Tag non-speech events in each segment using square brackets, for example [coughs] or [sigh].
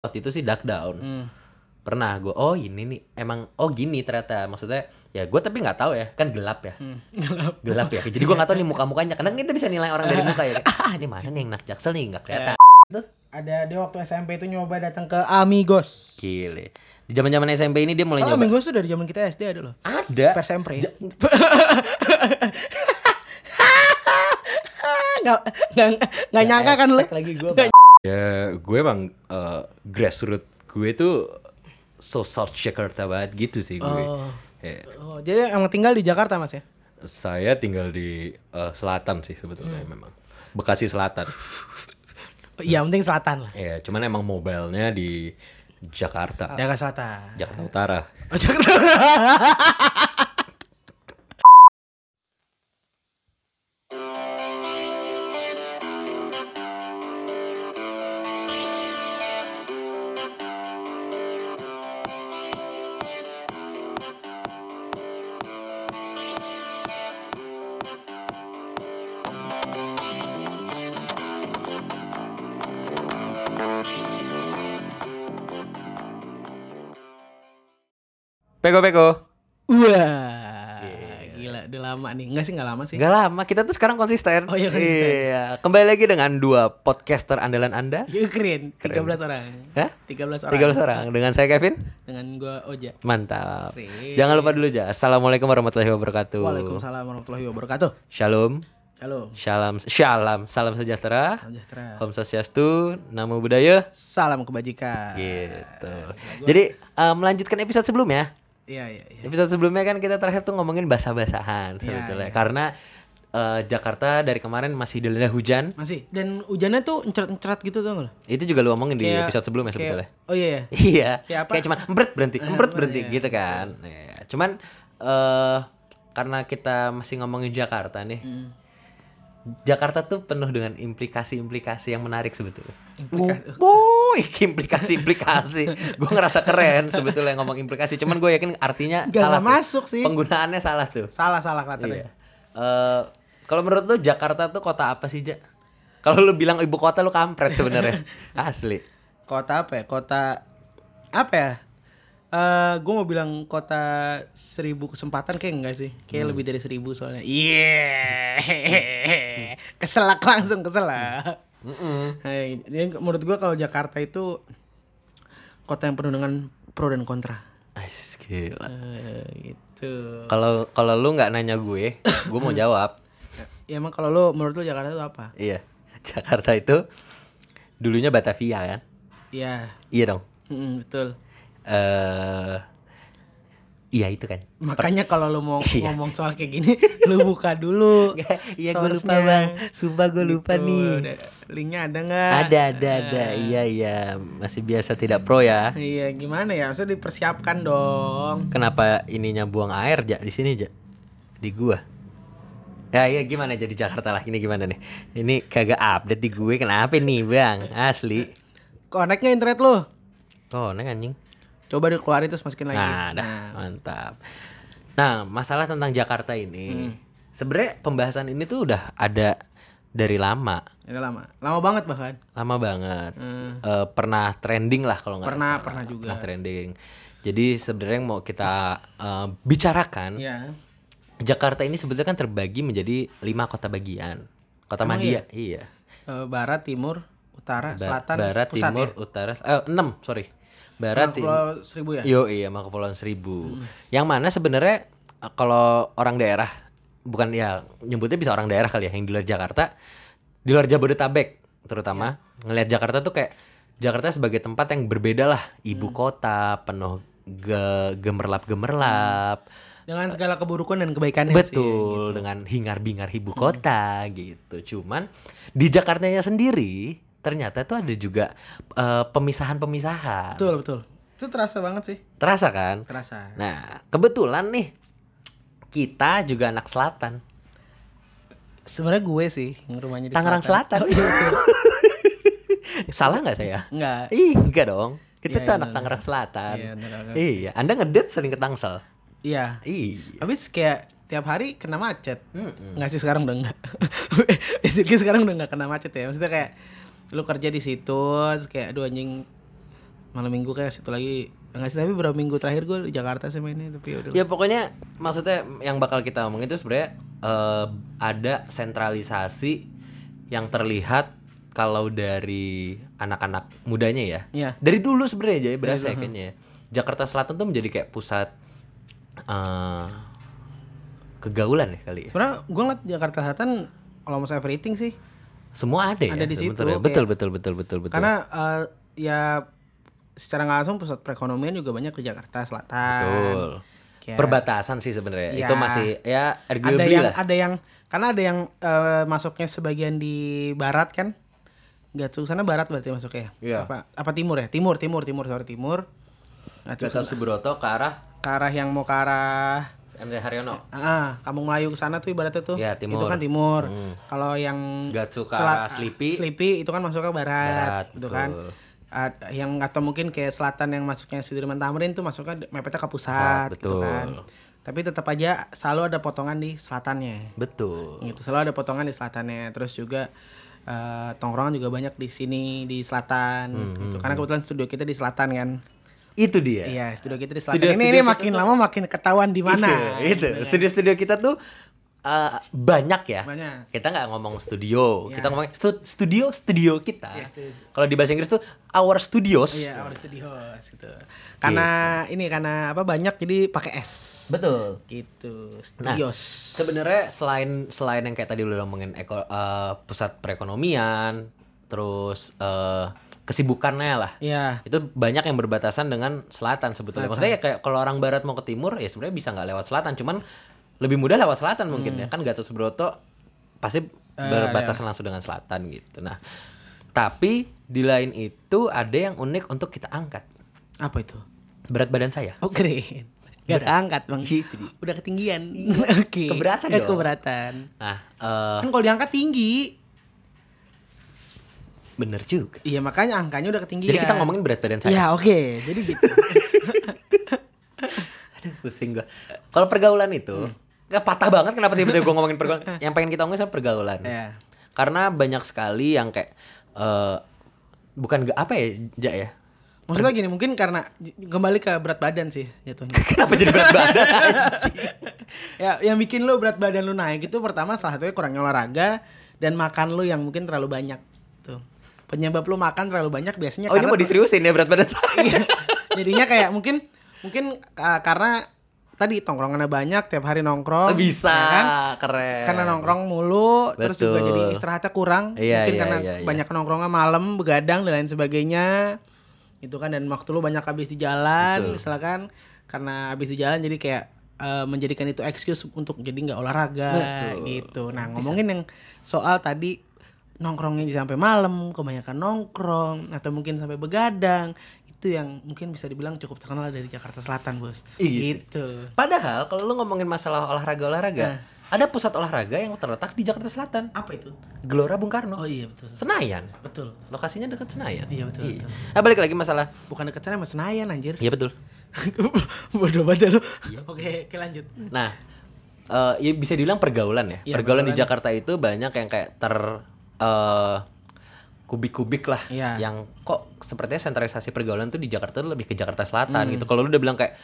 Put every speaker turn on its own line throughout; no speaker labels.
dapet itu sih duck down
Hmm.
pernah gue oh ini nih emang oh gini ternyata maksudnya ya gue tapi nggak tahu ya kan gelap
Hmm.
ya
Gelap.
gelap ya jadi gue nggak tahu nih muka mukanya karena kita bisa nilai orang
[laughs]
dari muka ya Kayak, ah ini mana nih yang nak jaksel nih
Iya.
nggak kelihatan
Ada dia waktu SMP itu nyoba datang ke Amigos.
gile di zaman zaman SMP ini dia mulai
Oh,
nyoba
Amigos tuh dari zaman kita SD ada loh.
ada
Persempre.
Ja-
[laughs] Nggak nggak nggak nyangka kan lu.
Ya, Hashtag lagi gue
[laughs]
Ya, gue emang eh, grassroots gue tuh so South Jakarta banget gitu sih gue.
Oh.
Ya,
Oh, jadi emang tinggal di Jakarta Mas ya?
saya tinggal di eh, selatan sih sebetulnya
Hmm.
memang. Bekasi Selatan.
Oh, Iya, penting selatan lah.
Ya, cuman emang mobilnya di
Ah.
Jakarta,
Jakarta Selatan.
Jakarta Utara.
Oh, Jakarta.
Peko peko.
[laughs] Wah. Gila, udah lama nih. Enggak sih, enggak lama sih.
Gak lama, kita tuh sekarang konsisten.
Oh iya, konsisten.
Iya. Kembali lagi dengan dua podcaster andalan Anda.
Ya, keren. 13 orang.
Hah?
13 orang.
13 orang. Dengan saya Kevin.
Dengan gua Oja.
Mantap.
Keren.
Jangan lupa dulu aja. Assalamualaikum warahmatullahi wabarakatuh.
Waalaikumsalam warahmatullahi wabarakatuh.
Shalom.
Halo.
Shalom. Shalom. Salam sejahtera.
Salam sejahtera.
Om Swastiastu. Namo Buddhaya.
Salam kebajikan.
Gitu. Jadi eh, melanjutkan episode sebelumnya.
Iya, iya, iya.
Episode sebelumnya kan kita terakhir tuh ngomongin basah-basahan sebetulnya.
iya.
Karena eh, Jakarta dari kemarin masih dilanda hujan.
Masih. Dan hujannya tuh encret-encret gitu tuh loh.
Itu juga lu omongin di
Kayak-
episode sebelumnya
Iya. kayak-
sebetulnya. [laughs]
Oh iya, iya.
Iya.
Kayak apa?
Kayak cuman empret berhenti, empret
apa,
berhenti
iya.
gitu kan. Iya. Cuman eh karena kita masih ngomongin Jakarta nih.
Hmm.
Jakarta tuh penuh dengan implikasi-implikasi yang menarik sebetulnya.
Implikasi.
Boy, [laughs] implikasi-implikasi. gue ngerasa keren sebetulnya ngomong implikasi. Cuman gue yakin artinya
Nggak
salah. tuh.
masuk sih.
Penggunaannya salah tuh.
Salah, salah kelihatannya.
Iya. Eh, kalau menurut lu Jakarta tuh kota apa sih, Ja? Kalau lu bilang ibu kota lu kampret [laughs] sebenarnya. Asli.
Kota apa ya? Kota apa ya? Eh, gue mau bilang kota seribu kesempatan kayak enggak sih? Kayak
Hmm.
lebih dari seribu soalnya. Iya. [laughs] Keselak langsung keselak.
Mm-mm.
Hai, jadi menurut gua kalau Jakarta itu kota yang penuh dengan pro dan kontra.
Ais, gila.
Eh, gitu.
Kalau kalau lu nggak nanya gue, gue mau jawab.
Ya emang kalau lo menurut lo Jakarta itu apa?
Iya. Jakarta itu dulunya Batavia kan?
Iya,
Iya dong.
mm, betul.
Eh Iya itu kan.
Makanya kalau lo mau
[laughs] Iya.
ngomong soal kayak gini, [laughs] lo buka dulu.
[laughs] Iya gue lupa
source-nya.
bang. Sumpah gue lupa
Gitu,
nih.
ada- Linknya ada nggak?
Ada ada ada. Iya iya. Masih biasa tidak pro ya.
Iya, gimana ya? Maksudnya dipersiapkan dong.
Kenapa ininya buang air ja di sini ja? Di gua. Ya iya gimana jadi Jakarta lah ini gimana nih? Ini kagak update di gue kenapa nih bang? Asli.
Koneknya internet lo.
Oh, neng anjing.
Coba dikeluarin terus masukin lagi.
Nah, dah, mantap. Nah, masalah tentang Jakarta
Hmm.
ini, sebenarnya pembahasan ini tuh udah ada dari lama,
Nah, Itu lama. Lama banget bahkan.
lama banget.
Hmm.
Eh, pernah trending lah kalau nggak
Pernah,
salah.
pernah juga.
Pernah trending. Jadi sebenarnya yang mau kita eh, bicarakan,
Iya.
Jakarta ini sebetulnya kan terbagi menjadi lima kota bagian. Kota
Emang
Madia, iya.
Eh, barat, timur,
Ba-
utara, selatan,
Barat,
pusat
Timur,
ya.
Utara, eh, enam, sorry. Barat, Timur,
Kalau seribu Hmm. ya.
Yo iya sama Kepulauan Seribu. Yang mana sebenarnya eh, kalau orang daerah bukan ya nyebutnya bisa orang daerah kali ya yang di luar Jakarta, di luar Jabodetabek terutama
Iya.
ngelihat Jakarta tuh kayak Jakarta sebagai tempat yang berbeda lah,
Hmm.
ibu kota penuh ge- gemerlap-gemerlap.
Dengan segala keburukan dan kebaikannya sih. gitu.
Betul, dengan hingar-bingar ibu kota gitu. Cuman di Jakartanya sendiri ternyata tuh ada juga eh, pemisahan-pemisahan.
Betul, betul. Itu terasa banget sih,
Terasa kan?
terasa.
Nah, kebetulan nih kita juga anak selatan.
Sebenarnya gue sih yang rumahnya di
Tangerang Selatan.
Oh, iya, betul.
Salah nggak saya?
Enggak.
Ih, enggak dong. Kita
Iya,
tuh
iya,
anak
iya.
Tangerang Selatan.
Iya, bener, bener.
Iya, Anda ngedate sering ke Tangsel.
Iya.
Iya.
Habis kayak tiap hari kena macet. Enggak sih sekarang udah enggak. [laughs] Basically sekarang udah enggak kena macet ya. Maksudnya kayak lu kerja di situ terus kayak aduh anjing malam minggu kayak situ lagi enggak sih tapi berapa minggu terakhir gue di Jakarta sih mainnya tapi udah
Ya pokoknya maksudnya yang bakal kita omongin itu sebenarnya eh, ada sentralisasi yang terlihat kalau dari anak-anak mudanya ya.
Iya.
Dari dulu sebenarnya jadi berasa ya kayaknya. ya. Jakarta Selatan tuh menjadi kayak pusat eh, kegaulan ya kali ya.
sebenarnya gue ngeliat Jakarta Selatan almost everything sih
Semua ada ya.
Ada di situ,
sebenarnya.
kayak-
Betul betul betul betul betul.
karena eh, ya secara nggak langsung pusat perekonomian juga banyak di Jakarta Selatan
betul.
Kayak
Perbatasan sih sebenarnya.
Ya.
Itu masih ya
ada
arguably
yang
lah.
ada yang karena ada yang eh, masuknya sebagian di barat kan Gatsu sana barat berarti masuknya ya?
Iya.
apa apa timur ya timur timur timur sorry timur Gatsu
Gatot Subroto ke arah
ke arah yang mau ke arah
MT Haryono.
ah, ah, Kampung Melayu ke sana tuh ibaratnya tuh
Iya, timur.
itu kan timur
Hmm.
kalau yang
Gatsu ke
sela-
arah Slipi.
Slipi itu kan masuk ke
Barat,
barat, gitu
betul.
kan Ah, yang atau mungkin kayak selatan yang masuknya Sudirman Tamrin tuh masuknya de- mepetnya ke pusat
Pusat,
gitu
betul.
kan tapi tetap aja selalu ada potongan di selatannya
Betul.
gitu selalu ada potongan di selatannya terus juga eh, tongkrongan juga banyak di sini di selatan
Hmm,
gitu karena kebetulan studio kita di selatan kan
Itu dia.
iya studio kita di selatan
Studio-
ini,
studio
ini
kita
makin lama makin ketahuan di mana
Itu,
Iya,
itu. Gitu, Studio-studio kita tuh uh, banyak ya.
Banyak.
Kita nggak ngomong studio,
Iya.
kita ngomong stu- studio studio kita.
Iya, studio.
Kalau di bahasa Inggris tuh our studios.
iya our studios gitu karena
Gitu.
ini karena apa banyak jadi pakai s
Betul.
gitu studios
Sebenarnya selain selain yang kayak tadi lu ngomongin eko, eh, pusat perekonomian, terus eh, kesibukannya lah.
iya
Itu banyak yang berbatasan dengan selatan sebetulnya. Maksudnya ya kayak kalau orang barat mau ke timur ya sebenarnya bisa nggak lewat selatan, cuman lebih mudah lewat selatan mungkin ya. Kan Gatot Subroto pasti berbatasan langsung dengan selatan gitu. Nah, tapi di lain itu ada yang unik untuk kita angkat.
apa itu
Berat badan saya.
oh keren Gak keangkat bang Udah ketinggian Oke
Gitu. Keberatan
Eh,
dong.
Keberatan
Nah, eh
Kan kalau diangkat tinggi
bener juga.
Iya makanya angkanya udah ketinggian
Jadi kita ngomongin berat badan saya.
Ya oke, jadi
[laughs]
gitu.
Aduh, pusing gua. Kalau pergaulan itu, nggak patah banget kenapa tiba-tiba gua ngomongin pergaulan. Yang pengen kita ngomongin sama pergaulan.
Iya.
Karena banyak sekali yang kayak eh bukan gak apa ya, Ja ya.
Maksudnya gini, mungkin karena kembali ke berat badan sih
[laughs]
jatuhnya.
Kenapa jadi berat badan? anjing?
ya, yang bikin lo berat badan lo naik itu pertama salah satunya kurangnya olahraga dan makan lo yang mungkin terlalu banyak. Tuh. Penyebab lo makan terlalu banyak
oh,
biasanya
ini mau diseriusin ya berat badan [laughs]
Iya.
saya.
[laughs] jadinya kayak mungkin mungkin uh, karena tadi tongkrongannya banyak tiap hari nongkrong.
Bisa,
ya kan?
keren.
Karena nongkrong mulu, terus
Iya. Betul.
juga jadi istirahatnya kurang.
Iya,
Mungkin
iya,
karena
iya, iya.
banyak nongkrongnya malam, begadang dan lain sebagainya. Itu kan dan waktu lu banyak habis di jalan, misalkan karena habis di jalan jadi kayak eh, menjadikan itu excuse untuk jadi nggak olahraga gitu. Nah, ngomongin yang soal tadi nongkrongnya jadi sampai malam, kebanyakan nongkrong atau mungkin sampai begadang itu yang mungkin bisa dibilang cukup terkenal dari Jakarta Selatan, Bos.
Iya.
Gitu.
Padahal kalau lu ngomongin masalah olahraga-olahraga, ada pusat olahraga yang terletak di Jakarta Selatan,
Apa itu?
Gelora Bung Karno.
Oh iya betul.
Senayan.
Betul.
Lokasinya dekat Senayan.
Iya, betul, betul.
Nah, balik lagi masalah.
Bukan deketnya sama Senayan anjir. [laughs]
Iya betul.
Bodoh banget ya lu.
Iya.
[laughs] Oke, oke lanjut.
Nah, eh, ya bisa dibilang pergaulan ya.
Iya,
pergaulan di Jakarta itu banyak yang kayak ter eh, kubik-kubik lah.
Iya.
Yang kok sepertinya sentralisasi pergaulan tuh di Jakarta tuh lebih ke Jakarta Selatan
Hmm.
gitu. Kalau lu udah bilang kayak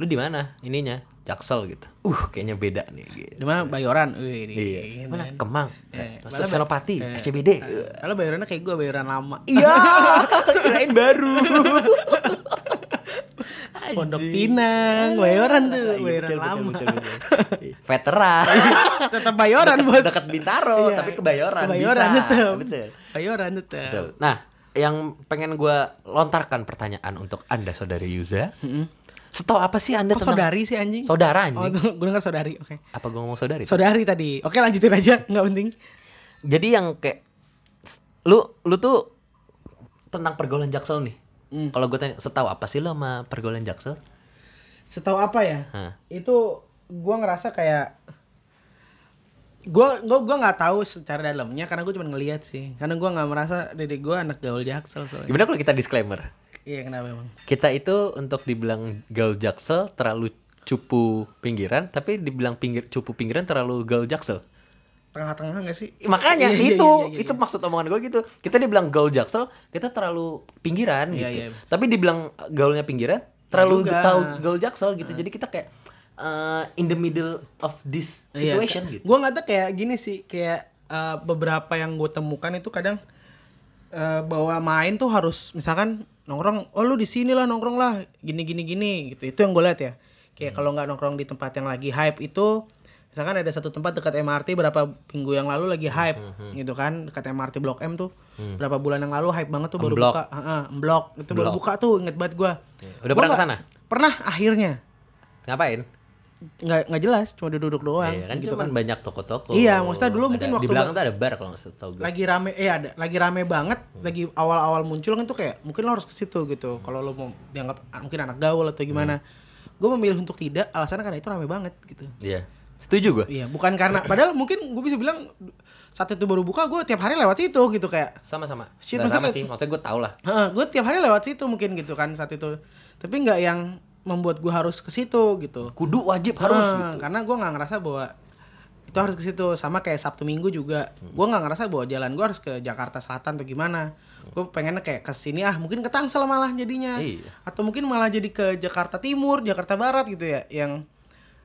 lu di mana ininya? Jaksel gitu. Uh, kayaknya beda nih gitu.
Di mana Bayoran? Wih, di-
Iya.
Mana?
Mana Kemang, eh,
Eh, malah-
Senopati,
eh,
SCBD.
Kalau Bayorannya kayak gue Bayoran lama. [laughs]
Iya, kirain baru.
Pondok Pinang, Bayoran tuh,
Iya,
Bayoran
betul, betul,
lama.
betul,
[laughs]
betul. Veteran.
Tetap Bayoran, Bos.
dekat Bintaro
Iya,
tapi kebayoran,
Kebayoran
bisa
tetap.
betul.
Bayoran tetap.
Betul. nah yang pengen gua lontarkan pertanyaan untuk anda saudari Yuza setahu apa sih anda
Kok
tentang
Oh, saudari sih anjing?
saudara
Oh,
anjing
gue denger saudari. Oke.
apa gua ngomong saudari
Saudari tadi. Oke, lanjutin aja, nggak penting.
jadi yang kayak s- lu lu tuh tentang pergaulan jaksel nih
Hmm.
kalau gue tanya setahu apa sih lo sama pergaulan jaksel
Setahu apa ya?
Hah.
Itu gua ngerasa kayak gua gua gua nggak tahu secara dalamnya karena gua cuma ngelihat sih. Karena gua nggak merasa diri gua anak gaul jaksel soalnya.
gimana kalau kita disclaimer
Iya kenapa emang?
kita itu untuk dibilang gaul jaksel terlalu cupu pinggiran tapi dibilang pinggir cupu pinggiran terlalu gaul jaksel
tengah-tengah nggak sih?
Makanya
Iya, iya,
itu
iya, iya, iya.
itu maksud omongan gue gitu. Kita dibilang gaul Jaksel, kita terlalu pinggiran
Iya,
gitu.
iya.
Tapi dibilang gaulnya pinggiran, terlalu
Juga. Nah.
tahu gaul Jaksel gitu. Jadi kita kayak eh, in the middle of this
Iya,
situation gitu.
Gue nggak tahu kayak gini sih kayak eh, beberapa yang gue temukan itu kadang eh, bahwa main tuh harus misalkan nongkrong, oh lu di sini lah nongkrong lah gini gini gini gitu. Itu yang gue lihat ya.
Hmm.
Kayak kalau nggak nongkrong di tempat yang lagi hype itu misalkan ada satu tempat dekat MRT berapa minggu yang lalu lagi hype
Hmm,
gitu kan dekat MRT Blok M tuh berapa bulan yang lalu hype banget tuh baru
Emblok.
buka Heeh, emblok itu baru
Emblok.
buka tuh inget banget gue
Udah pernah kesana?
pernah akhirnya
Ngapain?
nggak nggak jelas cuma duduk-duduk doang
Iya kan
gitu
cuman banyak toko-toko.
Iya, maksudnya dulu
Ada-
mungkin
di
waktu
belakang tuh ada bar kalau nggak tahu gue.
lagi rame eh ada lagi rame banget lagi awal-awal muncul kan tuh kayak mungkin lo harus ke situ gitu kalau lo mau dianggap ah, mungkin anak gaul atau gimana gue memilih untuk tidak alasannya karena itu rame banget gitu
Iya. Setuju gue.
iya bukan karena padahal mungkin gue bisa bilang saat itu baru buka gue tiap hari lewat situ gitu kayak
Sama-sama.
Shit,
Nggak sama
maksudnya-
sih. Maksudnya gue tau lah.
gue tiap hari lewat situ mungkin gitu kan saat itu tapi nggak yang membuat gue harus ke situ gitu
Kudu wajib harus
Eh,
gitu.
karena gue nggak ngerasa bahwa itu harus ke situ sama kayak sabtu minggu juga
Hmm.
gue nggak ngerasa bahwa jalan gue harus ke Jakarta Selatan atau gimana gue pengennya kayak ke sini ah mungkin ke Tangsel malah jadinya
Iya.
atau mungkin malah jadi ke Jakarta Timur Jakarta Barat gitu ya yang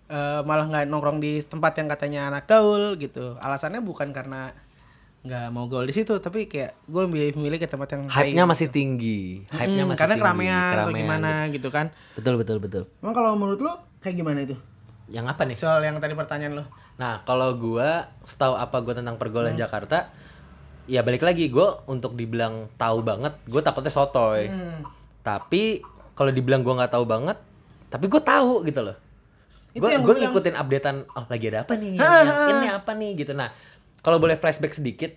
eh, malah nggak nongkrong di tempat yang katanya anak gaul gitu alasannya bukan karena nggak mau gaul di situ tapi kayak gue lebih memilih ke tempat yang
Hype-nya
high.
masih tinggi. Hype-nya
Mm,
masih
gitu. karena
tinggi.
keramaian, atau
Keramaian,
gimana
gitu.
gitu kan
Betul betul betul.
emang kalau menurut lo kayak gimana itu
Yang apa nih?
soal yang tadi pertanyaan lo
Nah, kalau gua setahu apa gua tentang pergaulan
Hmm.
Jakarta, ya balik lagi gua untuk dibilang tahu banget, gua takutnya sotoy.
Hmm.
Tapi kalau dibilang gua nggak tahu banget, tapi gua tahu gitu loh.
Itu
Gua
yang
gua
gua bilang.
ngikutin updatean, oh lagi ada apa nih? Ini apa nih gitu. Nah, kalau boleh flashback sedikit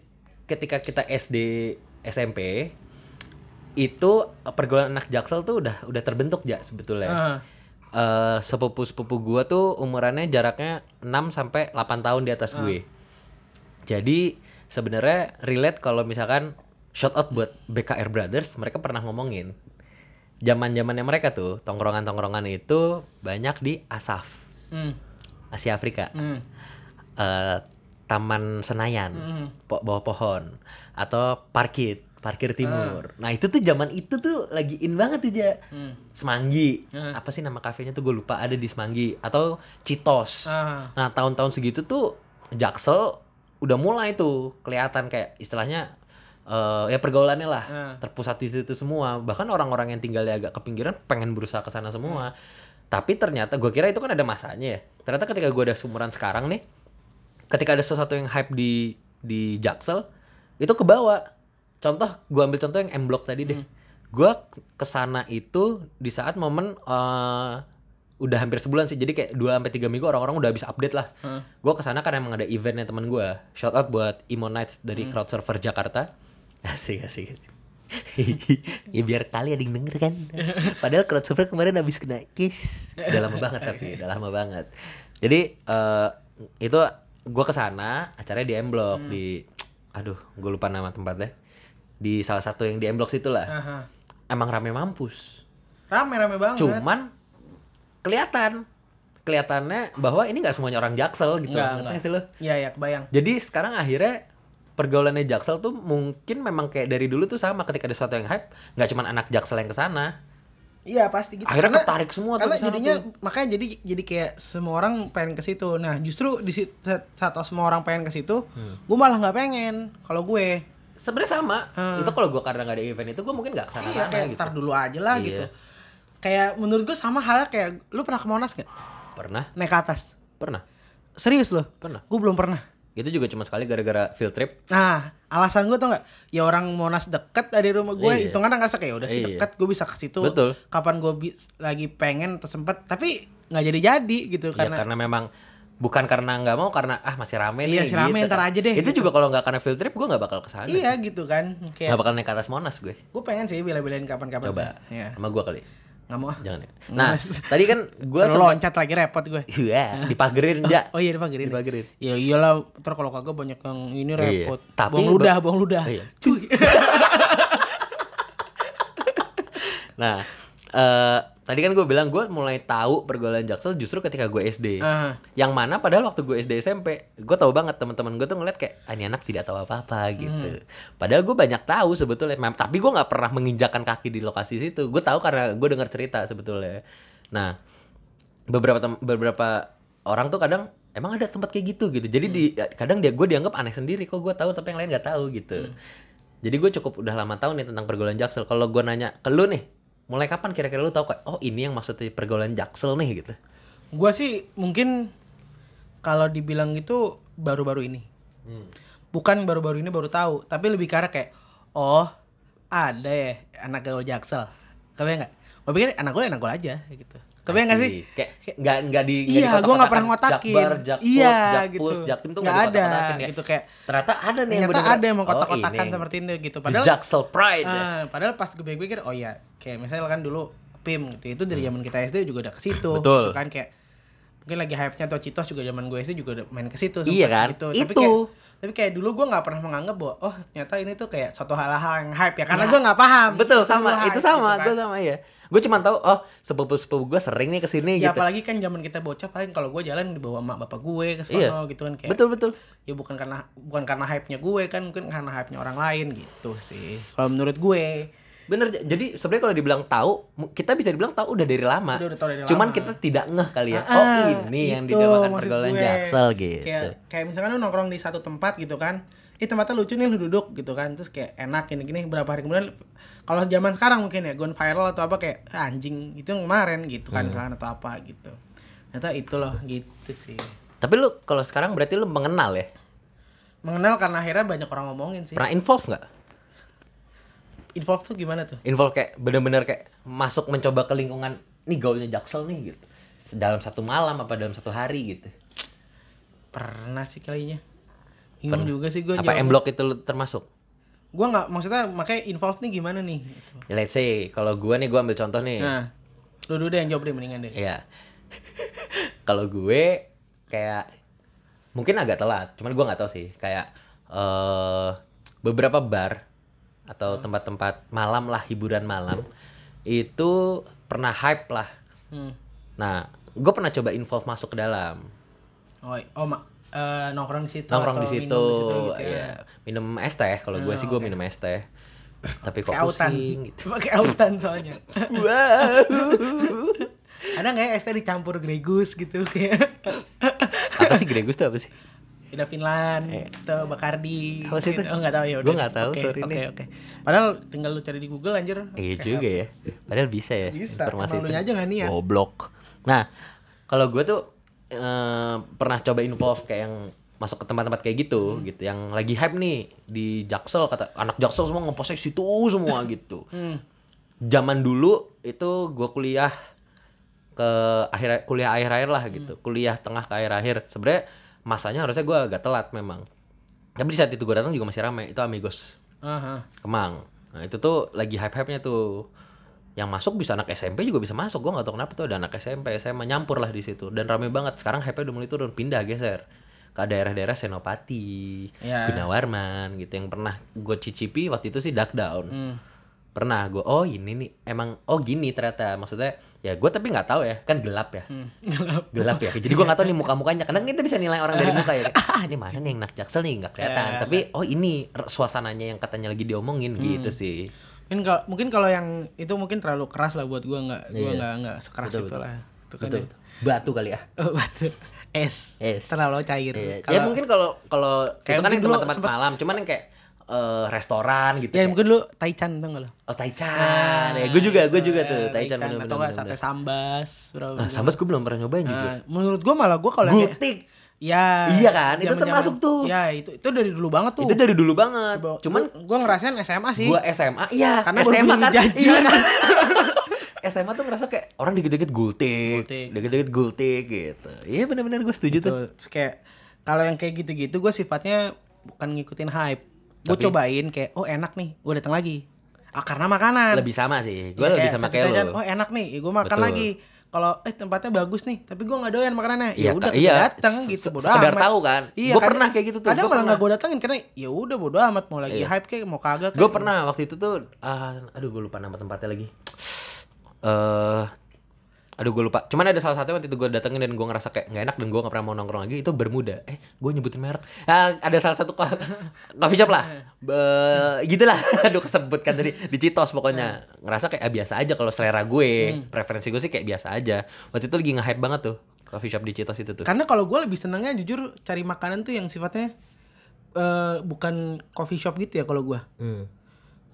ketika kita SD, SMP itu eh, pergaulan anak Jaksel tuh udah udah terbentuk ya sebetulnya
Ah.
eh sepupu-sepupu gua tuh umurannya jaraknya 6 sampai 8 tahun di atas gue. Jadi sebenarnya relate kalau misalkan shout out buat BKR Brothers, mereka pernah ngomongin zaman-zamannya mereka tuh tongkrongan-tongkrongan itu banyak di Asaf,
Hmm.
Asia Afrika.
Hmm.
Eh, Taman Senayan,
Hmm.
po- bawah pohon atau parkir, parkir timur. Nah, itu tuh zaman itu tuh lagi in banget tuh, Ja.
Hmm.
Semanggi. Apa sih nama kafenya tuh gue lupa ada di Semanggi atau Citos.
Ah.
Nah, tahun-tahun segitu tuh Jaksel udah mulai tuh kelihatan kayak istilahnya eh, ya pergaulannya lah
Ah.
terpusat di situ semua. Bahkan orang-orang yang tinggalnya agak ke pinggiran pengen berusaha ke sana semua. Tapi ternyata gue kira itu kan ada masanya ya. Ternyata ketika gue ada sumuran sekarang nih, ketika ada sesuatu yang hype di di Jaksel, itu ke bawah. Contoh, gue ambil contoh yang M Block tadi deh. Gue kesana itu di saat momen eh, udah hampir sebulan sih. Jadi kayak 2 sampai 3 minggu orang-orang udah habis update lah. Gue kesana karena emang ada eventnya teman gue. Shout out buat Imo Nights dari Crowd Surfer Jakarta. Asik, asik. asik. [laughs] ya biar kali ada yang denger kan padahal crowdsurfer kemarin habis kena kiss udah lama banget tapi udah lama banget jadi eh, itu gua kesana acaranya di M Block
Hmm.
di aduh gue lupa nama tempatnya di salah satu yang di M Block situ lah
Aha.
emang rame mampus
Rame-rame banget.
cuman kelihatan kelihatannya bahwa ini nggak semuanya orang jaksel gitu
Nggak,
ngerti
nggak.
nggak sih lo
Iya, ya, kebayang.
jadi sekarang akhirnya pergaulannya Jaksel tuh mungkin memang kayak dari dulu tuh sama ketika ada sesuatu yang hype, nggak cuman anak Jaksel yang kesana.
Iya, pasti gitu.
Akhirnya
Karena-
ketarik semua tuh
Karena
kesana
jadinya
tuh.
makanya jadi jadi kayak semua orang pengen ke situ. Nah, justru di sit- saat, saat semua orang pengen ke situ,
Hmm.
gue malah nggak pengen kalau gue.
Sebenarnya sama. Itu kalau gua karena nggak ada event itu gua mungkin nggak kesana
Hmm. Iya,
sana
kayak
gitu.
ntar dulu aja lah
Iya.
gitu. Kayak menurut gue sama halnya kayak lu pernah ke Monas gak?
Pernah,
Naik ke atas.
pernah,
Serius lo?
pernah.
Gue belum pernah.
Itu juga cuma sekali gara-gara field trip.
Nah, alasan gue tuh nggak, ya orang Monas deket dari rumah gue,
Iya.
hitungan ngerasa kayak "Ya udah sih
Iya.
deket, gue bisa ke situ.
Betul.
Kapan gue bi- lagi pengen atau sempet, tapi nggak jadi-jadi gitu
Ya, karena,
karena.
memang bukan karena nggak mau karena ah masih rame
Iya,
nih. kan.
masih rame, ntar aja deh,
Itu
gitu.
juga kalau nggak karena field trip gua nggak bakal kesana.
Iya gitu kan,
Nggak
kayak
bakal naik ke atas Monas gue.
gue pengen sih bela-belain kapan-kapan.
Coba
sih. Iya.
sama gua kali.
Nggak mau. ah.
Jangan ya. Nah,
Monas.
tadi kan gua
Terus
sempat
loncat lagi repot gue.
Iya, dipagerin enggak?
[laughs] Oh iya dipagerin.
Dipagerin.
Ya iyalah, terus kalau kagak banyak yang ini repot.
Iya. Tapi
Bong
ba-
ludah, bong ludah.
Iya. [laughs]
Cuy.
Nah, eh Tadi kan gue bilang gue mulai tahu pergaulan Jaksel justru ketika gue SD.
Ah.
Yang mana padahal waktu gue SD SMP, gue tahu banget teman-teman gue tuh ngeliat kayak "Ah, ini anak tidak tahu apa-apa gitu. Padahal gue banyak tahu sebetulnya, Mem- tapi gue nggak pernah menginjakan kaki di lokasi situ. Gue tahu karena gue dengar cerita sebetulnya. Nah, beberapa tem- beberapa orang tuh kadang emang ada tempat kayak gitu gitu. Jadi di kadang dia gue dianggap aneh sendiri kok gue tahu tapi yang lain nggak tahu gitu. Jadi gue cukup udah lama tahu nih tentang pergaulan Jaksel. Kalau gue nanya ke lu nih, mulai kapan kira-kira lu tahu kayak oh ini yang maksudnya pergaulan Jaksel nih gitu.
Gua sih mungkin kalau dibilang gitu baru-baru ini.
Hmm.
Bukan baru-baru ini baru tahu, tapi lebih ke arah kayak oh, ada ya anak gaul Jaksel. Kebayang nggak? Gue pikir anak gue anak gue aja gitu. Kebayang nggak sih?
Kayak nggak nggak di nggak
Iya, gue nggak pernah
dikotak-kotakan.
ngotakin.
Jakbar, Jakput,
iya,
Jakpus,
gitu.
Jaktim tuh nggak
nggak ada
dikotak-kotakin ya.
gitu kayak
Ternyata ada nih
ternyata
bener-bener,
ada emang kotak-kotakan
oh, ini.
seperti itu gitu.
The
Padahal
Jaksel Pride. ya.
Ah, padahal pas gue pikir oh ya kayak misalnya kan dulu PIM gitu itu dari zaman kita SD juga udah ke situ
Hmm. [laughs] Betul.
gitu kan kayak mungkin lagi hype-nya atau Citos juga zaman gue SD juga udah main ke situ
Iya
sempet
kan?
gitu. tapi
Itu.
kayak tapi kayak dulu gue nggak pernah menganggap bahwa oh ternyata ini tuh kayak suatu hal-hal yang hype ya karena gue nggak paham
Nah, Betul
Itu
sama, itu
hype gitu
sama,
kan.
gue sama ya. Gue cuma tahu oh sepupu-sepupu gue sering nih kesini
Ya,
gitu.
apalagi kan zaman kita bocah paling kalau gue jalan dibawa emak bapak gue ke sono
Iya.
gitu kan kayak
Betul betul.
ya bukan karena bukan karena hype-nya gue kan mungkin karena hype-nya orang lain gitu sih kalau menurut gue
Bener, j- jadi sebenarnya kalau dibilang tahu, mu- kita bisa dibilang tahu udah dari lama.
Udah- udah tahu dari
Cuman
lama.
kita tidak ngeh kali ya. oh
Ah,
ini yang
itu
dinamakan
maksud
pergaulan
gue.
jaksel gitu.
Kayak, kayak misalkan lu nongkrong di satu tempat gitu kan. Ih tempatnya lucu nih lu duduk gitu kan. Terus kayak enak gini-gini berapa hari kemudian kalau zaman sekarang mungkin ya gone viral atau apa kayak "Ah, anjing itu yang kemarin gitu
Hmm.
kan misalkan atau apa gitu. Ternyata itu loh gitu sih.
Tapi lu kalau sekarang berarti lu mengenal ya?
Mengenal karena akhirnya banyak orang ngomongin sih.
Pernah involve nggak?
Involve tuh gimana tuh?
Involve kayak bener-bener kayak masuk mencoba ke lingkungan nih gaulnya jaksel nih gitu. Se- Dalam satu malam apa dalam satu hari gitu.
Pernah sih kalinya. Bingung juga sih gue
apa M Block itu lu termasuk?
Gue nggak maksudnya makanya involve nih gimana nih? Gitu.
Ya, Let's say kalau gua nih gua ambil contoh nih.
Nah, lu dulu deh yang jawab deh mendingan deh.
Iya. [laughs] Kalau gue kayak mungkin agak telat, cuman gue nggak tahu sih. Kayak eh beberapa bar atau tempat-tempat malam lah hiburan malam itu pernah hype lah.
Hmm.
Nah, gue pernah coba involve masuk ke dalam
Oh, oh ma- eh, nongkrong di situ
nongkrong
atau
di situ,
minum di situ gitu ya.
ya. minum es teh. Kalau gue
Hmm,
sih gue
oke.
minum es teh. Tapi kok
Kayak autan.
pusing gitu.
[laughs] Pakai autan soalnya.
Wow.
Ada nggak ya es teh dicampur Gregus gitu [laughs] kayak
apa sih Gregus tuh apa sih?
Ida Finland atau Bacardi.
Iya. Apa sih itu?
Oh enggak tahu ya
Gua nggak tahu,
Oke,
sorry
Oke,
nih.
oke. Padahal tinggal lu cari di Google anjir.
Iya
Kayak
juga ya. Padahal bisa ya.
Bisa,
Informasi
emang
itu.
lunya aja nggak niat.
Goblok. Nah, kalau gue tuh eh, pernah coba involve kayak yang masuk ke tempat-tempat kayak gitu
Hmm.
gitu yang lagi hype nih di Jaksel kata anak Jaksel semua ngepostnya situ semua gitu.
Hmm.
Zaman dulu itu gue kuliah ke akhir kuliah akhir-akhir lah gitu. Kuliah tengah ke akhir-akhir. Sebenarnya masanya harusnya gue agak telat memang. Tapi di saat itu gue datang juga masih ramai. Itu Amigos.
Aha.
Kemang. Nah, itu tuh lagi hype-hype-nya tuh. Yang masuk bisa anak SMP juga bisa masuk. Gua nggak tahu kenapa tuh ada anak SMP, SMA nyampur lah di situ dan rame banget. Sekarang hype-nya udah mulai turun, pindah geser ke daerah-daerah Senopati,
Ya.
Gunawarman gitu yang pernah gue cicipi waktu itu sih Duck Down.
Hmm.
Pernah gue, oh ini nih emang oh gini ternyata maksudnya ya gue tapi nggak tahu ya kan gelap ya
hmm.
[laughs] gelap ya jadi gue nggak tahu nih muka mukanya kadang kita bisa nilai orang dari muka ya [laughs] Kayak, ah ini mana nih yang nak jaksel nih nggak kelihatan tapi oh ini r- suasananya yang katanya lagi diomongin gitu sih
Mungkin kalau mungkin kalau yang itu mungkin terlalu keras lah buat gua nggak gua nggak nggak sekeras itu lah. Itu kan
Iya. betul batu kali ya
ya. [laughs] Oh, batu. Es.
Es.
Terlalu cair.
Iya. ya
Kalau-
mungkin kalau kalau itu
Kayak
kan yang
mungkin dulu
tempat-tempat
sempet-
malam cuman yang kayak eh, restoran gitu
Ya
kayak,
mungkin lu Taichan tau gak lo?
oh taichan ya gue juga gue juga tuh
Eh,
taichan
Taichan
bener
atau nggak sate sambas bro.
nah, sambas gue belum pernah nyobain jujur
Nah, menurut gua malah gua kalau yang kayak-
gutik
ya
Iya kan? Itu
zaman-zaman-
termasuk tuh.
Ya itu itu dari dulu banget tuh.
itu dari dulu banget
Gua-
cuman
gua, gua ngerasain SMA sih. gitu.
gua SMA iya
Karena baru
SMA
beli
kan
jajan.
iya [laughs] kan SMA tuh ngerasa kayak orang dikit-dikit gultik,
Gultik.
dikit-dikit gultik gitu. Iya benar-benar gue setuju tuh.
Tuh, terus kayak kalau yang kayak gitu-gitu gua sifatnya bukan ngikutin hype. Gua cobain kayak oh enak nih, gua datang lagi. Ah, karena makanan.
Lebih sama sih, gue
Iya,
lebih
kayak
sama
sate
kayak
taichan,
lo.
Oh enak nih, gue makan
Betul.
lagi. Kalau eh tempatnya bagus nih, tapi gue nggak doyan makanannya.
Iya,
Ya udah,
Kak, iya.
datang
Se-
gitu. Bodo
sekedar
amat.
tahu kan.
Iya,
Gua
kadang-
pernah kayak gitu tuh,
Kadang
gua
malah nggak
pernah.
gue datangin karena ya udah bodo amat mau lagi
Iya.
hype kayak mau
Gue
kagak. kayak-
pernah waktu itu tuh, ah, aduh gue lupa nama tempatnya lagi. Eh, aduh gue lupa cuman ada salah satu waktu itu gue datengin dan gue ngerasa kayak nggak enak dan gue nggak pernah mau nongkrong lagi itu Bermuda eh gue nyebutin merek Ah, ada salah satu ko- coffee shop lah Be- gitulah [laughs] aduh kesebutkan tadi di Citos pokoknya ngerasa kayak ah, biasa aja kalau selera gue preferensi gue sih kayak biasa aja waktu itu lagi nge-hype banget tuh coffee shop di Citos itu tuh
Karena kalau gue lebih senengnya jujur cari makanan tuh yang sifatnya eh bukan coffee shop gitu ya kalau gue.
hmm.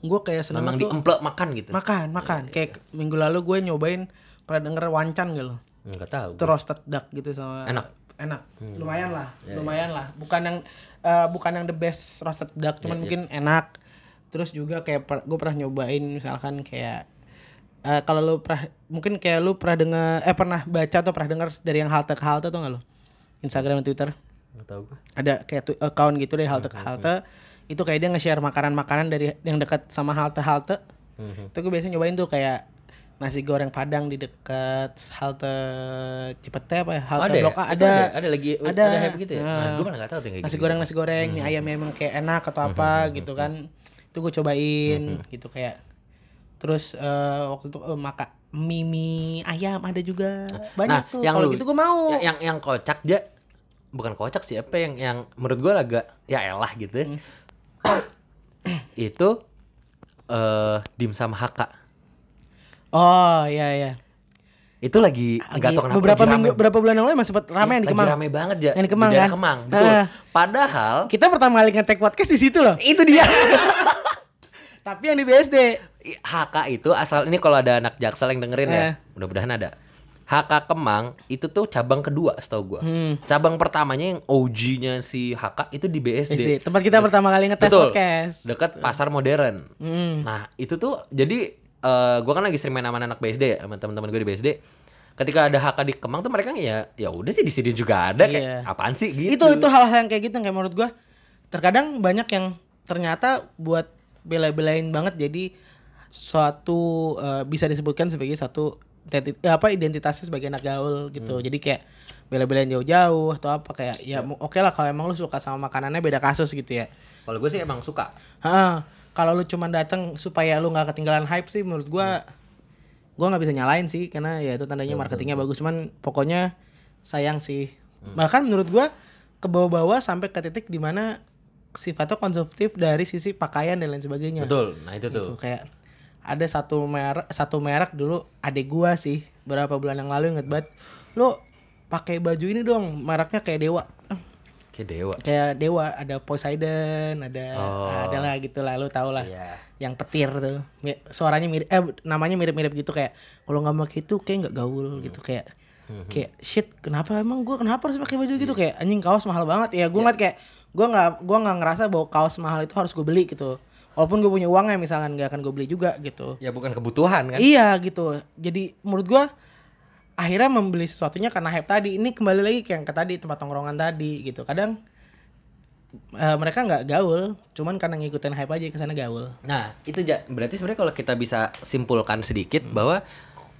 Gue kayak seneng
memang
tuh
diemplek makan gitu
makan, makan. Kayak minggu lalu gue nyobain pernah denger wancan gitu loh.
nggak tahu
Itu roasted duck gitu sama
Enak.
Enak. Lumayan lah, lumayan lah. Bukan yang eh, bukan yang the best roasted duck, cuman mungkin enak. Terus juga kayak per, gue pernah nyobain misalkan kayak eh kalau lu pernah mungkin kayak lu pernah dengar eh pernah baca atau pernah dengar dari yang halte ke halte tuh nggak lo Instagram dan Twitter
nggak tahu gue
ada kayak tu- account gitu dari halte ke halte itu kayak dia nge-share makanan-makanan dari yang dekat sama halte-halte
Hmm.
itu gue biasanya nyobain tuh kayak nasi goreng padang di dekat halte Cipete apa ya
Oh,
halte
ada, ya?
Blok A
Itu
ada,
ada ada lagi ada,
Ada.
hype gitu ya nah,
Nah.
gue malah nggak tahu tuh yang kayak
nasi
gitu.
goreng nasi goreng mie ayam
hmm.
emang kayak enak atau apa gitu kan itu gue cobain
Hmm,
gitu kayak terus eh, waktu itu eh, maka mie mie ayam ada juga banyak
Nah,
tuh
yang
kalau
lu-
gitu gue mau
Ya, yang yang kocak aja bukan kocak sih apa yang yang menurut gue agak ya elah gitu
Hmm.
ya. itu eh dimsum haka
oh iya iya
itu lagi nggak tahu
Lagi-
kenapa
beberapa
lagi
minggu
rame.
berapa bulan yang lalu masih sempat ramai yang di
lagi
Kemang
rame banget ya
Yang di Kemang,
daerah
kan?
Kemang betul
Ah.
padahal
kita pertama kali nge-tag podcast di situ loh
itu [laughs] dia
tapi yang di BSD
HK itu asal ini kalau ada anak Jaksel yang dengerin ya,
Eh.
mudah-mudahan ada. HK Kemang itu tuh cabang kedua setahu gua.
Hmm.
Cabang pertamanya yang OG-nya si HK itu di BSD.
SD tempat kita pertama kali ngetes
Betul.
podcast
Dekat pasar modern.
Hmm.
Nah, itu tuh jadi eh, gua kan lagi sering main sama anak BSD ya, sama teman-teman gue di BSD. Ketika ada HK di Kemang tuh mereka ya ya udah sih di sini juga ada kayak
Iya.
apaan sih gitu.
itu itu hal-hal yang kayak gitu yang kayak menurut gua terkadang banyak yang ternyata buat bela-belain banget jadi suatu eh, bisa disebutkan sebagai satu identi- eh, apa identitasnya sebagai anak gaul gitu jadi kayak bela-belain jauh-jauh atau apa kayak ya mu- oke lah kalau emang lu suka sama makanannya beda kasus gitu ya
Kalau gue sih emang suka.
Heeh. Kalau lu cuman datang supaya lu nggak ketinggalan hype sih menurut
Hmm.
gua gua nggak bisa nyalain sih karena ya itu tandanya marketingnya bagus cuman pokoknya sayang sih.
Hmm.
Bahkan menurut gua ke bawah-bawah sampai ke titik dimana sifatnya konsumtif dari sisi pakaian dan lain sebagainya.
Betul. Nah, itu tuh.
Gitu, kayak ada satu merek satu merek dulu adek gua sih berapa bulan yang lalu inget banget lu pakai baju ini dong mereknya kayak dewa Eh,
Kayak dewa.
kayak dewa ada Poseidon ada
Oh.
ada lah gitu lah lu tau lah
Iya.
yang petir tuh Mi- suaranya mirip eh namanya mirip-mirip gitu kayak kalau nggak pakai itu kayak nggak gaul gitu kayak kayak shit kenapa emang gua kenapa harus pakai baju gitu kayak anjing kaos mahal banget ya gua ngeliat kayak gua nggak gua nggak ngerasa bahwa kaos mahal itu harus gue beli gitu walaupun gue punya uangnya misalkan nggak akan gue beli juga gitu
Ya bukan kebutuhan kan.
Iya gitu. Jadi menurut gua akhirnya membeli sesuatunya karena hype tadi. Ini kembali lagi ke yang ke tadi tempat tongkrongan tadi gitu. Kadang eh, mereka nggak gaul, cuman karena ngikutin hype aja kesana gaul.
Nah, itu Ja. berarti sebenarnya kalau kita bisa simpulkan sedikit
Hmm.
bahwa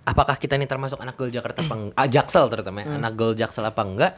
apakah kita ini termasuk anak gaul Jakarta
[clears throat]
apa eng- ah, Jaksel terutama ya,
Hmm.
anak gaul Jaksel apa enggak?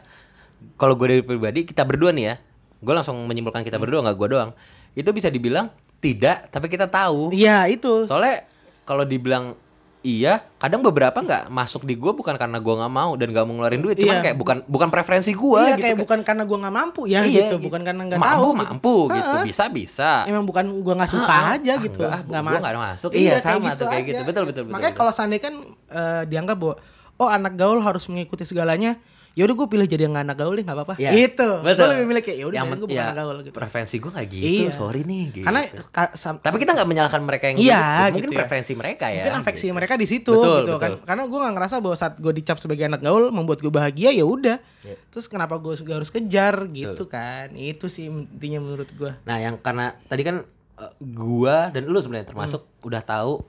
Kalau gue dari pribadi, kita berdua nih ya, gue langsung menyimpulkan
Hmm.
kita berdua nggak gue doang. Itu bisa dibilang tidak, tapi kita tahu.
Iya itu.
Soalnya kalau dibilang iya, kadang beberapa nggak masuk di gue bukan karena gue nggak mau dan nggak mau ngeluarin duit, cuman
Iya.
kayak bukan bukan preferensi gue gitu.
iya kayak
Kayak-
bukan karena gua nggak mampu ya
iya,
gitu. Bukan karena nggak
mampu,
tahu. gitu.
mampu gitu, bisa bisa.
Emang bukan gua nggak suka
Ah, ah,
aja
ah,
gitu.
enggak, gua- gua nggak masuk. Iya,
kayak
sama tuh, kayak gitu. Betul, betul, betul,
Makanya
betul.
kalau seandainya kan eh, dianggap bahwa oh anak gaul harus mengikuti segalanya. Ya udah gue pilih jadi yang nggak anak gaul deh nggak apa-apa.
Iya,
Gitu.
betul.
Gue lebih milih kayak ya udah
Yang
gue bukan
ya,
anak gaul gitu.
Preferensi gue gak gitu,
Iya.
sorry nih gitu.
Karena ka- sam-
tapi kita nggak menyalahkan mereka yang
Iya,
gitu. Mungkin
gitu ya.
preferensi mereka ya.
mungkin afeksi
gitu.
mereka di situ
Betul,
gitu kan
betul.
karena gue nggak ngerasa bahwa saat gue dicap sebagai anak gaul membuat gue bahagia ya udah
Iya.
terus kenapa gue harus kejar gitu kan itu sih intinya menurut gue
Nah, yang karena tadi kan eh, gua dan lu sebenarnya termasuk
Hmm.
udah tahu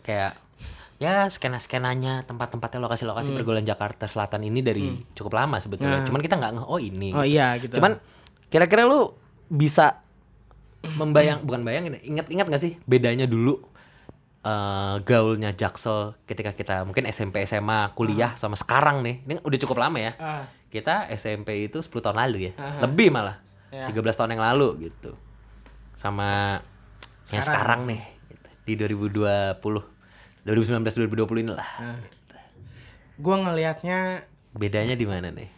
kayak ya skena-skenanya tempat-tempatnya lokasi-lokasi
Hmm.
pergaulan Jakarta Selatan ini dari cukup lama sebetulnya. Cuman kita nggak nge oh ini.
Nah. oh iya gitu
Cuman kira-kira lu bisa membayang bukan bayangin ya, ingat-ingat gak sih bedanya dulu eh, gaulnya Jaksel ketika kita mungkin SMP SMA kuliah sama sekarang nih. Ini udah cukup lama ya.
Ah,
Kita SMP itu 10 tahun lalu ya. Lebih malah.
Ya.
13 tahun yang lalu gitu. Sama yang sekarang nih Hmm. gitu. di 2020 2019 2020 inilah.
Gua ngelihatnya
Bedanya di mana nih?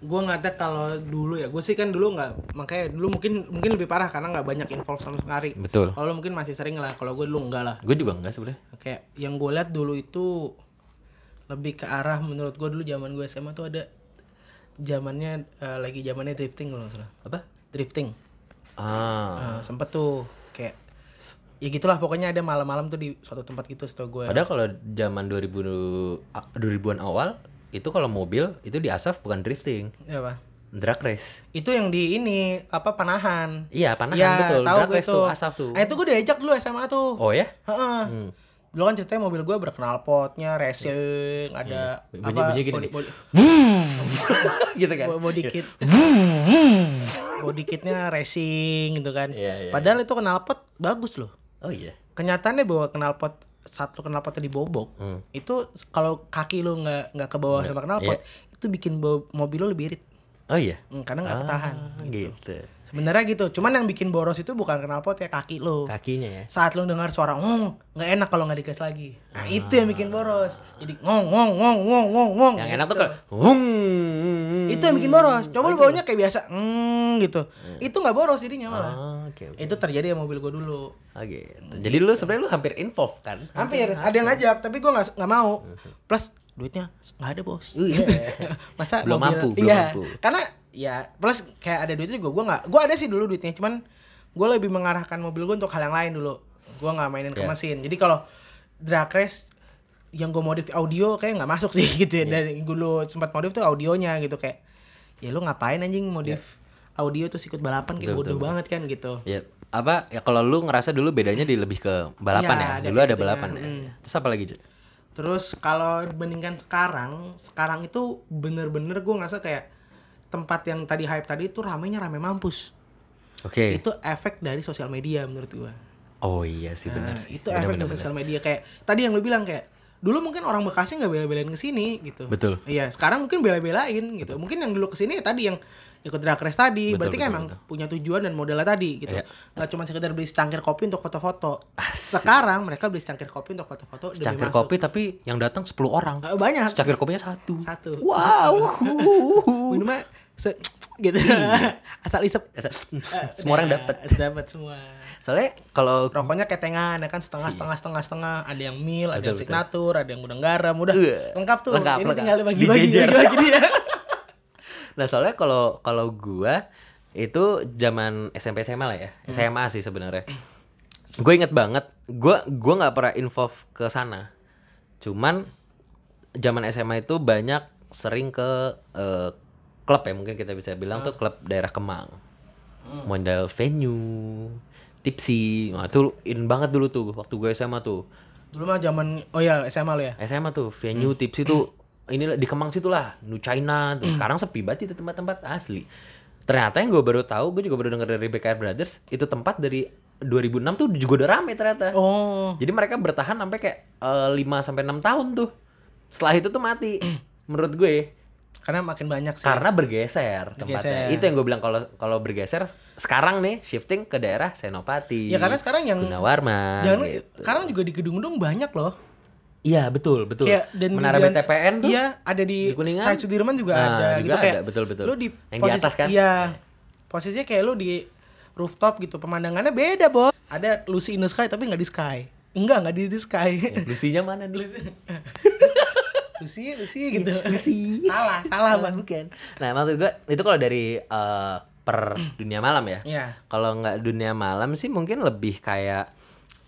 gue nggak ada kalau dulu ya gue sih kan dulu nggak makanya dulu mungkin mungkin lebih parah karena nggak banyak involve sama sekali
Betul.
kalau lu mungkin masih sering lah kalau gue dulu enggak lah
Gue juga enggak sebenarnya.
kayak yang gue lihat dulu itu lebih ke arah menurut gue dulu zaman gue SMA tuh ada zamannya eh, lagi zamannya drifting kalau nggak salah
Apa?
drifting
Ah.
Eh, sempet tuh kayak ya gitulah pokoknya ada malam-malam tuh di suatu tempat gitu setahu gue
Padahal kalau zaman 2000 nu- a- 2000-an awal itu kalau mobil itu di asaf bukan drifting,
Ya apa
drag race.
itu yang di ini apa panahan
Iya, panahan
Iya,
betul.
tahu
Drag
gue
race
itu.
tuh asaf tuh.
ah itu gue diajak dulu SMA tuh
Oh ya? [laughs]
Heeh.
Hmm.
Dulu kan ceritanya mobil gue berkenal potnya, racing, ada
Bunyi-
apa
bunyi Iya. gini nih.
body, body,
gitu kan.
bo- body kit. body kitnya racing gitu kan.
Iya, iya,
Padahal itu knalpot bagus loh.
Oh iya.
Kenyataannya bahwa knalpot satu knalpotnya dibobok,
Hmm.
itu kalau kaki lo nggak nggak ke bawah sama knalpot,
iya.
itu bikin bo- mobil lo lebih irit.
Oh iya.
Hmm, karena nggak ketahan.
Ah, gitu.
Sebenarnya gitu. Cuman yang bikin boros itu bukan knalpot ya kaki lo.
Kakinya ya.
saat lu dengar suara ngong nggak enak kalau nggak digas lagi
Ah.
nah itu yang bikin boros jadi ngong ngong ngong ngong ngong ngong
Yang
gitu.
enak tuh kalau hung.
itu yang bikin boros coba lu baunya kayak biasa mm, gitu itu nggak boros jadinya malah
Iya. Ah, Oke, oke.
itu terjadi sama mobil gua dulu
Oh, gitu. Jadi lu sebenarnya lu hampir involved kan?
hampir ada yang ngajak tapi gua nggak nggak mau [laughs] plus duitnya nggak ada bos [laughs] masa
Belum mampu, belum
Iya.
mampu.
karena ya plus kayak ada duit juga gue nggak gue ada sih dulu duitnya cuman gue lebih mengarahkan mobil gue untuk hal yang lain dulu gue nggak mainin
Iya.
ke mesin jadi kalau drag race yang gue modif audio kayak nggak masuk sih [laughs] gitu ya
Iya.
dan gue dulu sempat modif tuh audionya gitu kayak ya lu ngapain anjing
Iya.
modif audio terus ikut balapan kayak bodoh banget kan gitu
Ya, apa ya kalau lu ngerasa dulu bedanya di lebih ke
Iya,
balapan
ada
ya. Dulu ada
kayak gitu
balapan
kan.
ya. Terus apa lagi, Cuk?
Terus kalau dibandingkan sekarang, sekarang itu bener-bener gue ngerasa kayak tempat yang tadi hype tadi itu ramenya rame mampus.
Oke.
Itu efek dari sosial media menurut gue.
Oh iya sih benar
Nah,
sih.
itu
Benar,
efek
benar,
dari
benar.
sosial media kayak tadi yang lu bilang kayak dulu mungkin orang Bekasi nggak bela-belain ke sini gitu.
Betul.
Iya, sekarang mungkin bela-belain gitu. Mungkin yang dulu ke sini ya tadi yang ikut drag race tadi,
Betul,
berarti kan
betul,
emang punya tujuan dan modalnya tadi gitu.
Iya.
Nggak cuma sekedar beli secangkir kopi untuk foto-foto.
Asik.
Sekarang mereka beli secangkir kopi untuk foto-foto demi
Secangkir
masuk.
kopi tapi yang datang 10 orang.
Eh, Banyak.
Secangkir kopinya satu.
Satu. [laughs]
Wow. [laughs] Oh.
minumnya se gitu [laughs] asal isep
Eh, Semua
Nah.
orang dapat.
dapat semua
Soalnya kalau
rokoknya ketengan ya kan setengah setengah setengah setengah ada yang mil
Iya. Betul,
ada yang
betul.
signatur ada yang gudang garam udah
Iya.
lengkap tuh
Lengkap,
ini
lengkap.
tinggal dibagi bagi
Dijejer.
bagi bagi
[laughs]
dia
nah soalnya kalau kalau gua itu zaman SMP SMA lah ya. SMA sih sebenarnya. Gue inget banget, gua gua nggak pernah involve ke sana. Cuman zaman SMA itu banyak sering ke eh, klub ya mungkin kita bisa bilang tuh klub daerah Kemang. Modal venue, tipsi, nah, itu in banget dulu tuh waktu gue SMA tuh.
dulu mah zaman oh ya SMA lo ya
SMA tuh venue tips itu inilah di Kemang situ lah New China
Hmm.
tuh sekarang sepi banget itu tempat-tempat asli ternyata yang gue baru tahu gue juga baru denger dari BKR Brothers itu tempat dari 2006 tuh juga udah rame ternyata
oh
jadi mereka bertahan sampai kayak 5 sampai 6 tahun tuh setelah itu tuh
[clears throat]
mati menurut gue
karena makin banyak sih
karena bergeser tempatnya
Bergeser.
itu yang gue bilang kalau kalau bergeser sekarang nih shifting ke daerah Senopati
ya karena sekarang yang
Gunawarman
jangan
gitu.
sekarang juga di gedung-gedung banyak loh
iya betul betul
Kayak dan
menara
di- dan-
BTPN tuh
Iya, ada
di
di,
Kuningan.
Said Sudirman
Nah,
juga ada
juga
gitu kayak.
ada, betul, betul.
Lu di
Yang di atas kan?
Iya. Posisinya kayak lu di rooftop gitu, pemandangannya beda, Bos. Ada Lucy in the Sky tapi nggak di sky. Enggak, nggak di, di sky.
Lusinya mana nih?
[laughs] Lucy, Lucy gitu.
Lucy.
salah, salah, Bang.
bukan. Nah, maksud gua itu kalau dari eh, per dunia malam ya.
Iya.
Kalau nggak dunia malam sih mungkin lebih kayak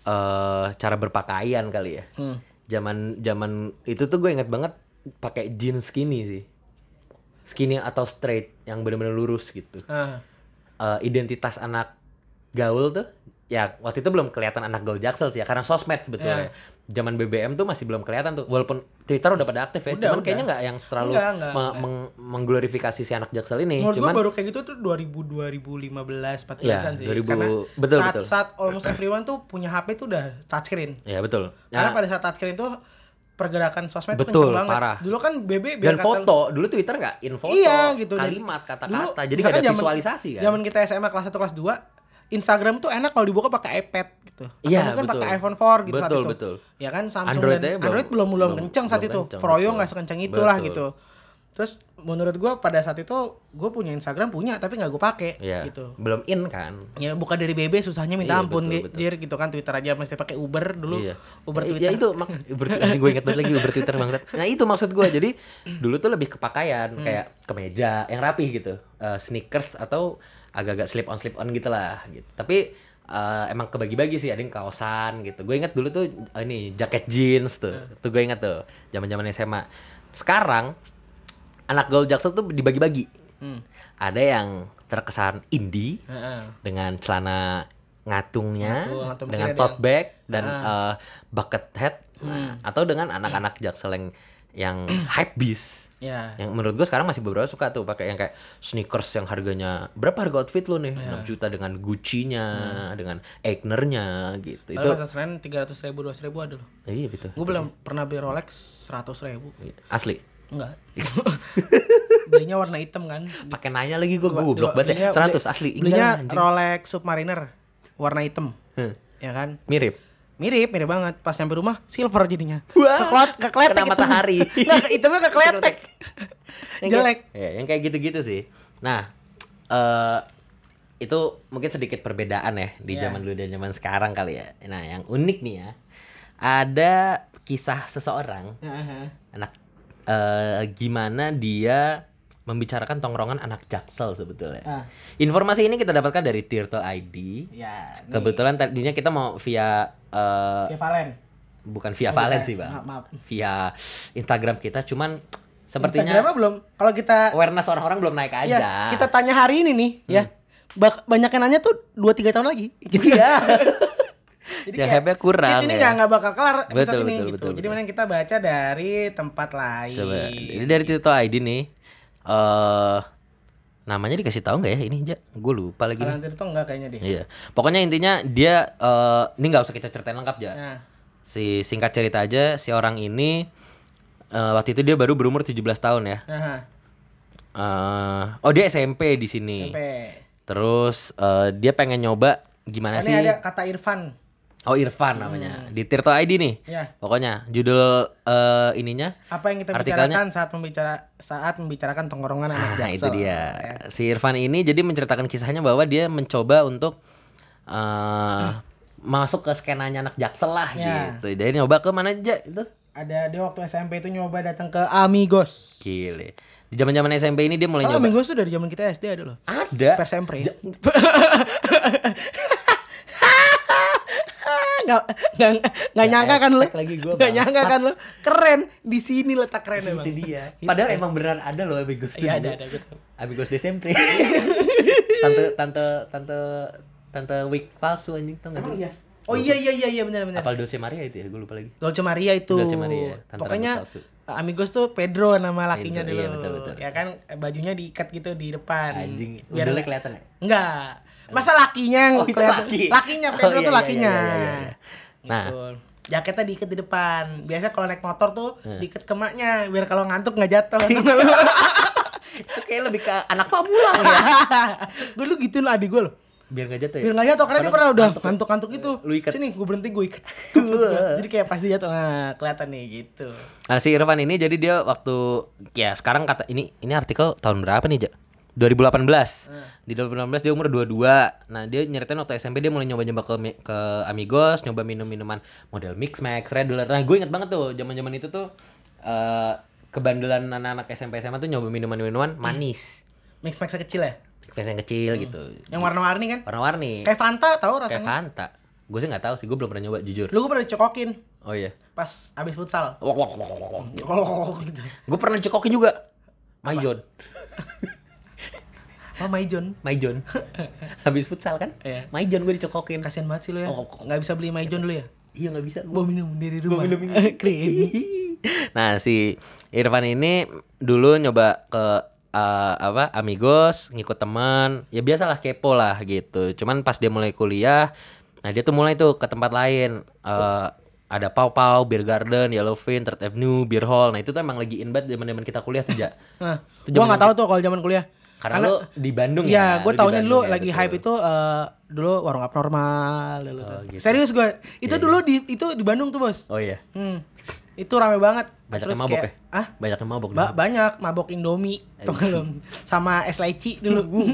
eh cara berpakaian kali ya.
Hmm.
Zaman zaman itu tuh gue inget banget pakai jeans skinny sih. Skinny atau straight yang benar-benar lurus gitu.
Ah,
Eh, identitas anak gaul tuh ya waktu itu belum kelihatan anak gaul jaksel sih ya karena sosmed sebetulnya zaman BBM tuh masih belum kelihatan tuh walaupun Twitter udah pada aktif ya
Udah,
cuman
udah.
kayaknya nggak yang terlalu
Enggak, enggak,
me-
enggak.
meng- mengglorifikasi si anak jaksel ini
Menurut
cuman
gua baru kayak gitu tuh 2000 2015 14
Iya,
sih.
2000
Karena
betul,
saat,
betul.
saat almost everyone tuh punya HP tuh udah touchscreen.
ya betul
Karena
Nah,
pada saat touchscreen tuh pergerakan sosmed tuh
Betul,
kenceng banget.
parah.
Dulu kan BB
dan
biar kata-
foto dulu Twitter nggak in foto
Iya, gitu. Dan
kalimat
dulu,
kata-kata jadi nggak
misalkan
ada
zaman-
visualisasi kan
Zaman kita SMA kelas 1 kelas 2 Instagram tuh enak kalau dibuka pakai iPad gitu. Atau
Iya,
mungkin
betul.
pakai iPhone 4 gitu
Betul,
saat itu.
betul.
Ya kan Samsung
Android
dan
aja belum-
Android belum belum
belum-
kencang saat
belum
itu.
kencang,
Froyo
betul.
nggak sekencang itulah
Betul.
gitu. Terus menurut gua pada saat itu gue punya Instagram punya tapi nggak gue pakai
Iya.
gitu.
Belum in kan?
Ya buka dari BB susahnya
Iya,
minta ampun
betul,
Di- dir gitu kan Twitter aja mesti pakai Uber dulu.
Iya.
Uber
Ya,
Twitter.
Ya itu mak Uber Twitter. Anjing, gue inget banget lagi Uber Twitter bangsat. Nah itu maksud gue. Jadi dulu tuh lebih ke pakaian
Hmm.
kayak kemeja yang rapih gitu, Eh, sneakers atau agak-agak slip on slip on gitu lah. Gitu. Tapi eh, emang kebagi-bagi sih ada yang kaosan gitu. Gue inget dulu tuh eh, ini jaket jeans tuh.
Hmm.
Tuh gue inget tuh zaman-zaman SMA. Sekarang anak gaul jaksel tuh dibagi-bagi.
Hmm.
Ada yang terkesan indie
Heeh.
dengan celana ngatungnya,
Ngatung, ngatung
dengan
kiri
tote
dia. Ah. Hmm.
bag dan eh, bucket hat, Nah, atau dengan anak-anak jaksel yang yang [clears throat] hype beast.
Ya.
Yang menurut gue sekarang masih beberapa suka tuh pakai yang kayak sneakers yang harganya berapa harga outfit lo nih? 6
Iya.
juta dengan Gucci-nya,
Hmm.
dengan Eigner-nya gitu.
Itu
Itu
masa Senin 300 ribu, 200 ribu ada loh.
iya gitu.
Gue belum pernah beli Rolex 100 ribu.
Asli. [laughs]
Enggak. Belinya warna hitam kan.
Pakai nanya lagi gue, gue
Coba-
goblok
coba
banget ya. 100
belinya- Iya, beli-
asli. Enggak
Belinya
lah, anjing.
Rolex Submariner warna hitam. ya kan?
mirip.
Mirip, mirip banget. Pas nyampe rumah silver jadinya.
Wah,
Keklet, kekletek
kena matahari.
[laughs] Nah, hitamnya kekletek.
Yang
[laughs] Jelek.
kayak- ya, yang kayak gitu-gitu sih. Nah, eh itu mungkin sedikit perbedaan ya di
Iya.
zaman dulu dan zaman sekarang kali ya. Nah, yang unik nih ya, ada kisah seseorang anak eh gimana dia membicarakan tongkrongan anak jaksel sebetulnya.
Ah.
Informasi ini kita dapatkan dari Tirto ID.
Ya,
Kebetulan tadinya kita mau via eh,
Ya, Valen.
bukan via Ya, Valen sih,
Maaf,
Bang.
maaf.
Via Instagram kita cuman sepertinya
Instagramnya belum. Kalau kita
awareness orang-orang belum naik aja.
ya, kita tanya hari ini nih,
Hmm.
ya. Bak banyak yang nanya tuh 2 3
[laughs]
tahun lagi. Gitu ya. Jadi
Iya. Ya, hype-nya kurang
shit,
ya.
ini nggak nggak bakal kelar episode
Betul, betul,
ini gitu.
betul,
Jadi
betul.
mending kita baca dari tempat lain.
Coba. Ini dari Tito ID nih. Eh namanya dikasih tahu nggak ya ini? Gue lupa lagi.
Kalau
nih.
nanti itu enggak kayaknya deh.
Iya. Pokoknya intinya dia eh ini nggak usah kita ceritain lengkap ya.
Nah,
Si singkat cerita aja si orang ini eh, waktu itu dia baru berumur 17 tahun ya.
aha,
Eh oh dia SMP di sini.
sampai.
Terus eh, dia pengen nyoba gimana
Ini
sih?
ada Hmm. kata Irfan.
Oh Irfan namanya. Di Tirto ID nih.
Ya,
Pokoknya judul eh, ininya
apa yang kita
Artikelnya-
bicarakan saat membicara saat membicarakan tongkrongan anak
Nah itu
jaksel.
dia.
Ya.
Si Irfan ini jadi menceritakan kisahnya bahwa dia mencoba untuk eh, masuk ke skenanya anak jaksel lah
Hmm. Ya.
gitu. Jadi nyoba ke mana aja gitu. itu.
Ada dia waktu SMP itu nyoba datang ke Amigos.
Gile. Di zaman-zaman SMP ini dia mulai
Kalau
nyoba.
Amigos tuh dari zaman kita SD ada loh.
Ada.
Persempre. [laughs] Nggak nggak nggak nyangka kan lu?
hashtag lagi gua,
Nggak nyangka
bangsat.
kan lu? Keren di sini letak keren emang.
Itu dia. Padahal emang beneran ada loh Amigos tuh
ya. Iya
dulu.
ada ada gue tahu.
Amigos di SMP. [laughs] tante tante tante tante wig palsu anjing tau gak
Emang
sih?
iya. Oh iya iya iya iya benar benar.
Apal Dulce Maria itu ya, gue lupa lagi.
Dolce Maria itu.
Dolce Maria, tante
Pokoknya
rambut palsu.
Amigos tuh Pedro nama lakinya
Pedro,
dulu.
iya, betul, betul.
Ya kan eh, bajunya diikat gitu di depan.
Anjing,
Biar
udah kelihatan ya? [laughs]
enggak. Masa lakinya yang
Oh, itu
kelihatan-
laki.
Lakinya
Oh,
Pedro
iya,
tuh
iya,
lakinya.
iya, iya, iya, iya. Nah.
Gitu. Jaketnya diikat di depan. Biasa kalau naik motor tuh
Iya.
diikat ke maknya biar kalau ngantuk nggak jatuh.
[laughs] Itu kayak lebih ke anak pemula ya.
gue lu gituin adik gue loh.
Biar gak jatuh ya.
Iya. Biar nggak jatuh karena dia pernah udah ngantuk-ngantuk itu.
Lu ikat.
Sini gue berhenti gue ikat. [laughs] Jadi kayak pasti jatuh. Nah, kelihatan nih gitu.
Nah, si Irfan ini jadi dia waktu ya sekarang kata ini ini artikel tahun berapa nih, Jak? 2018. Di 2018 dia umur 22. Nah, dia nyeritain waktu SMP dia mulai nyoba-nyoba ke mi- ke Amigos, nyoba minum-minuman model Mix Max, Red Alert. Nah, gue inget banget tuh zaman-zaman itu tuh eh kebandelan anak-anak SMP SMA tuh nyoba minuman-minuman manis.
Mix Max kecil ya?
Kayak yang kecil gitu.
Yang warna-warni kan?
Warna-warni.
Kayak Fanta
Iya.
tahu
Kayak
rasanya.
Fanta. Gue sih nggak tahu sih, gue belum pernah nyoba jujur.
Lu gue pernah dicokokin
Oh iya.
pas abis futsal.
Wok wok wok wok, wok.
Oh [laughs] gitu.
Gue pernah cekokin juga. Mayon.
Oh my John.
Maijon. [laughs] Habis futsal kan?
Iya.
Maijon gue dicokokin.
Kasian banget sih lu ya.
Oh, kok-
Nggak bisa beli my John dulu ya?
Iya nggak bisa.
Gua minum dari rumah.
minum
[laughs] Keren.
[laughs] nah si Irfan ini dulu nyoba ke eh, apa amigos ngikut teman ya biasalah kepo lah gitu cuman pas dia mulai kuliah nah dia tuh mulai tuh ke tempat lain Eh, ada Pau Pau, Beer Garden, Yellowfin, Third Avenue, Beer Hall. Nah itu tuh emang lagi in banget zaman-zaman kita kuliah tuh, Ja.
Nah,
Itu
gua
zaman
nggak tahu tuh kalau zaman kuliah.
Karena,
Karena-
lo di Bandung
Iya,
ya.
gue
lu di
taunya
Bandung
dulu
ya,
lagi
betul.
hype itu eh, dulu warung abnormal dulu tuh.
gitu. iya.
Serius gue, itu dulu di itu di Bandung tuh bos.
Oh iya.
Hmm, itu rame banget.
Banyak yang mabok
kayak-
ya? Eh,
Ah,
Banyak yang mabok.
ba- banyak mabok Indomie, tau
[laughs]
nggak lo? Sama es leci dulu. [laughs]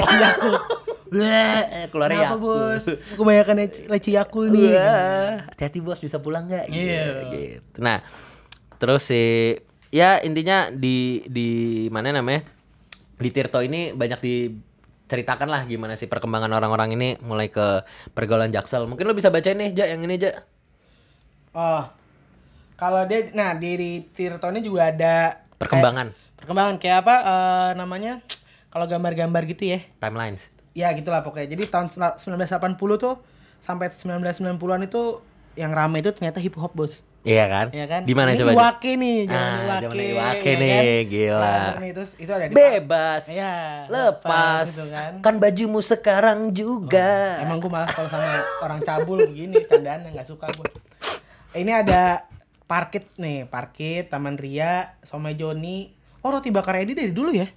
leci yakul.
[laughs]
Bleh,
keluar
kenapa,
Yakult.
bos? Kebanyakan leci, leci yakul nih.
Wah, gitu. hati-hati bos bisa pulang nggak? Gitu,
Iya.
gitu. Nah, terus si ya intinya di di mana namanya di Tirto ini banyak diceritakan lah gimana sih perkembangan orang-orang ini mulai ke pergaulan jaksel. Mungkin lo bisa bacain nih, Ja, yang ini, Ja.
Oh, kalau dia, nah di Tirto ini juga ada
Perkembangan
kayak- perkembangan kayak apa eh, namanya? Kalau gambar-gambar gitu ya.
timelines.
ya gitulah pokoknya jadi tahun sena- 1980 tuh sampai 1990-an itu yang rame itu ternyata hip hop bos
Iya kan?
ya kan
Di mana
Ini
coba? Ja?
Iwake nih zaman
Ah,
Iwake
zaman Iwake
ya
nih, gila.
Rame nih, terus itu ada di
Bebas.
Iya, lepas
lepas.
gitu kan. Oh.
kan. bajumu sekarang juga.
emang gue malah kalau sama orang cabul begini candaan yang nggak suka gue ini ada parkit nih parkit Taman Ria Somai Joni oh roti bakar Edi dari dulu ya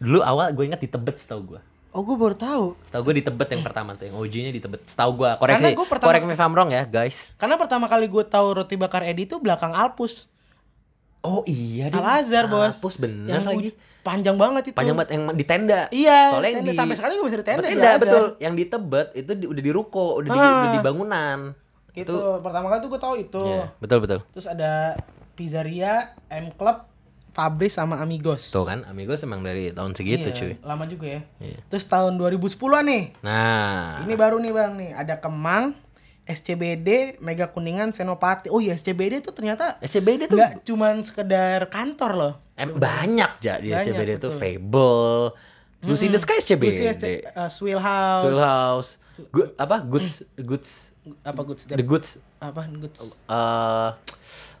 Dulu awal gue ingat di Tebet setahu gue.
oh gue baru tahu
Setahu gue di Tebet yang pertama tuh, yang OG-nya di Tebet. Setahu gue, koreksi,
Karena gua pertama-
correct me if I'm wrong ya, guys.
karena pertama kali gue tahu roti bakar Edi itu belakang Alpus
Oh iya,
Al Azhar bos
Hapus bener
yang
lagi.
ud- panjang banget itu
Panjang banget yang di tenda.
iya
Soalnya
tenda.
yang di-
sampai sekarang juga bisa di tenda di
Tenda
Al Azhar.
betul, yang di Tebet itu di- udah di ruko, udah di,
Ah.
udah di bangunan.
gitu pertama kali tuh gue tahu itu
Iya, betul betul.
terus ada pizzeria M Club Fabris sama Amigos
Tuh kan, Amigos emang dari tahun segitu
Iya,
cuy.
lama juga ya
Iya.
terus tahun 2010an nih
Nah,
ini baru nih bang nih ada Kemang SCBD Mega Kuningan Senopati oh iya SCBD tuh ternyata
SCBD tuh
nggak cuman sekedar kantor loh
em, banyak ja di
Banyak,
SCBD tuh
betul. Hmm.
Fable, Lucy in the Sky SCBD,
Lucy SC- eh, Swill House,
Soul House, Good apa Goods
Hmm.
Goods
apa Good Oh, Step
The Goods
apa Good
eh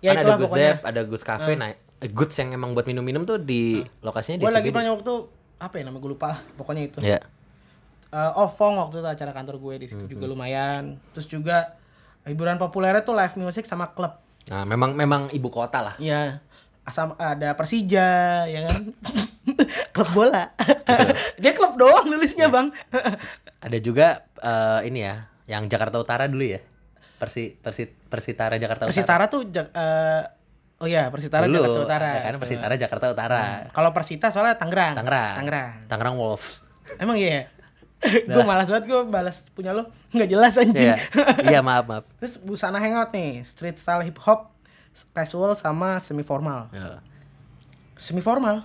Ya,
kan ada
itulah
Gus
pokoknya. Hmm.
Dep, ada Gus Cafe, nah Goods yang emang buat minum-minum tuh di lokasinya di
gue Hmm. lagi
SCBD.
pernah waktu apa ya nama gue lupa lah pokoknya itu
Ya.
Eh, Oh Fong waktu itu acara kantor gue di situ juga lumayan terus juga hiburan populernya tuh live music sama klub
Nah, memang memang ibu kota lah.
Iya. Asam ada Persija, ya [laughs] kan? klub bola. Dia klub doang nulisnya, Bang.
Ada juga eh, ini ya, yang Jakarta Utara dulu ya. Persi Persi Persitara Jakarta Utara.
Persitara tuh Jak- eh, oh iya, Persitara
Dulu,
Jakarta Utara. Iya.
ya kan Persitara Jakarta Utara.
Kalau Persita soalnya Tangerang.
Tangerang.
Tangerang.
Tangerang Wolves.
Emang
[laughs]
iya. gue malas banget gue balas punya lo nggak jelas anjing.
Nah.
[laughs]
Iya. Iya, maaf, maaf.
Terus busana hangout nih, street style hip hop, casual sama semi formal.
Ya.
Semi formal.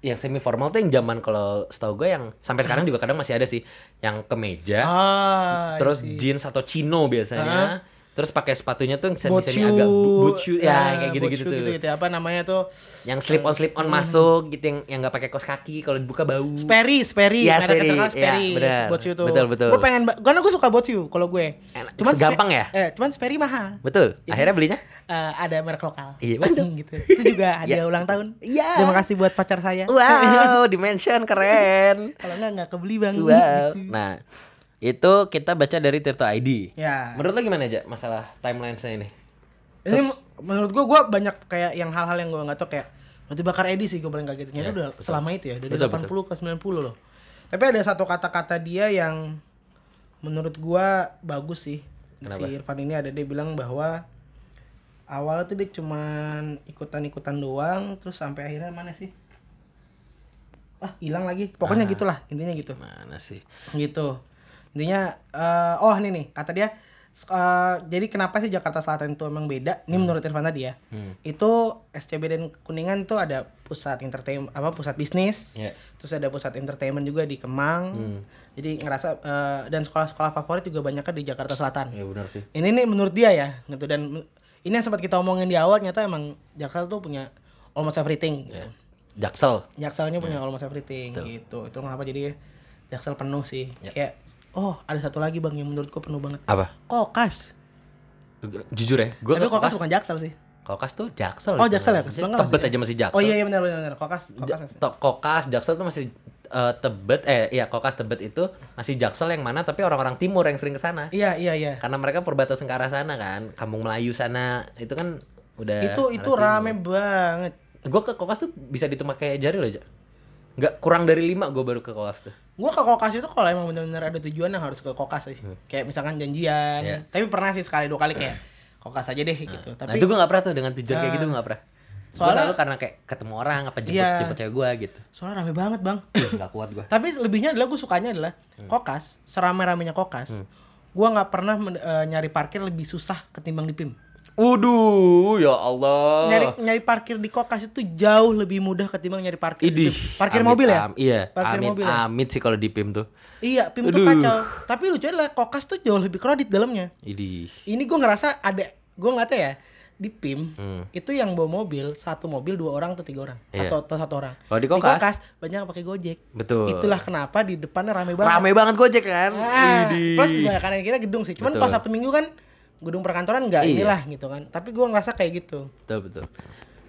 Yang semi formal tuh yang zaman kalau setahu gue yang sampai
Hmm.
sekarang juga kadang masih ada sih yang kemeja,
Ah,
terus
I see.
jeans atau chino biasanya terus pakai sepatunya tuh yang semi
Boat
semi
shoe.
agak bu- boot shoe ya
Ah,
kayak gitu
boat
gitu
shoe
tuh
gitu-gitu. Hmm. apa namanya tuh?
yang slip on slip on masuk gitu yang yang nggak pakai kaos kaki kalau dibuka bau
Sperry, Sperry,
Iya,
merek
Sperry.
terkenal
Iya,
Sperry,
benar.
boat shoe tuh.
Betul, betul.
Gue pengen, ba- karena gue suka boat shoe kalau gue.
Enak, segampang
Spe-
ya?
Eh, cuman Sperry mahal.
betul akhirnya
[laughs]
belinya
Eh, ada merek lokal.
Iya, betul.
[laughs] gitu. Itu juga hadiah
[laughs] Iya.
ulang tahun.
Iya.
Terima kasih buat pacar saya.
wow dimension keren
kalau enggak enggak kebeli bang.
wow
Gitu.
nah itu kita baca dari Tirto ID
Ya.
menurut lo gimana aja masalah timelinesnya ini
Ini men- menurut gue, gue banyak kayak yang hal-hal yang gue nggak tau kayak roti bakar Edi sih gue paling kaget. Ternyata
Iya,
udah
betul.
selama itu ya dari
Betul,
80 ke 90 loh. Tapi ada satu kata-kata dia yang menurut gue bagus sih.
Kenapa?
Si Irfan ini ada dia bilang bahwa awalnya tuh dia cuman ikutan-ikutan doang, terus sampai akhirnya mana sih? Ah hilang lagi. Pokoknya gitulah intinya gitu
mana sih
gitu intinya eh, oh ini nih kata dia s- eh, jadi kenapa sih Jakarta Selatan itu emang beda ini menurut Irfan tadi ya
Hmm.
itu SCB dan Kuningan tuh ada pusat entertainment apa pusat bisnis
Iya.
terus ada pusat entertainment juga di Kemang
Hmm.
jadi ngerasa eh, dan sekolah-sekolah favorit juga banyaknya di Jakarta Selatan
ya benar sih
ini nih menurut dia ya gitu dan men- ini yang sempat kita omongin di awal ternyata emang Jakarta tuh punya almost everything
Ya.
gitu.
Jaksel
Jakselnya punya
Iya.
almost everything gitu. Itu kenapa jadi Jaksel penuh sih.
Iya.
Kayak oh, ada satu lagi Bang yang menurutku penuh banget.
apa
Kokas.
jujur ya gue
Tapi kokas, bukan Jaksel sih.
kokas tuh Jaksel
Oh,
itu.
Jaksel ya? Kesel nggak
tebet
maksudnya?
aja masih Jaksel
Oh iya iya benar benar benar. Kokas, kokas.
Ja- to- kokas jaksel tuh masih eh, tebet eh iya kokas tebet itu masih jaksel yang mana tapi orang-orang timur yang sering ke sana
Iya iya iya.
karena mereka perbatasan ke arah sana kan kampung melayu sana itu kan udah
Itu itu rame banget.
gue ke kokas tuh bisa ditemak kayak jari loh Ja. nggak kurang dari lima gue baru ke kokas tuh
Gue ke kokas itu kalau emang bener-bener ada tujuan yang harus ke kokas sih. Kayak misalkan janjian.
Hmm. Iya.
Tapi pernah sih sekali dua kali kayak kokas aja deh gitu.
nah
Tapi Ah.
itu gue nggak pernah tuh dengan tujuan kayak gitu gue nggak pernah soalnya
Soalnya-
selalu karena kayak ketemu orang apa jemput
Iya.
jemput cewek gue
[coughs]
gitu
soalnya rame banget bang.
Ih, nggak kuat gue
Tapi lebihnya adalah gue sukanya adalah
Hmm.
kokas, serame-ramenya kokas. Gua nggak pernah men- eh, nyari parkir lebih susah ketimbang di PIM.
Waduh, ya Allah.
Nyari nyari parkir di kokas itu jauh lebih mudah ketimbang nyari parkir. di
Idih.
PIM. parkir
Amit,
mobil ya?
am- iya.
Parkir
amit,
mobil ya?
Amit sih kalau di PIM tuh.
Iya, PIM tuh
Aduh.
kacau. Tapi lucunya adalah kokas tuh jauh lebih kredit dalamnya.
Idih.
Ini gue ngerasa ada, gue ngata ya di PIM
Hmm.
itu yang bawa mobil satu mobil dua orang atau tiga orang, satu atau satu orang.
Kalau Oh, di Kokas?
banyak yang pakai gojek.
Betul.
Itulah kenapa di depannya rame banget.
Rame banget Gojek kan?
Ah,
Idih.
plus di kanan kira gedung sih. Cuman
Betul.
kalau Sabtu Minggu kan gedung perkantoran nggak
Iya.
inilah gitu kan. Tapi gue ngerasa kayak gitu.
Betul, betul.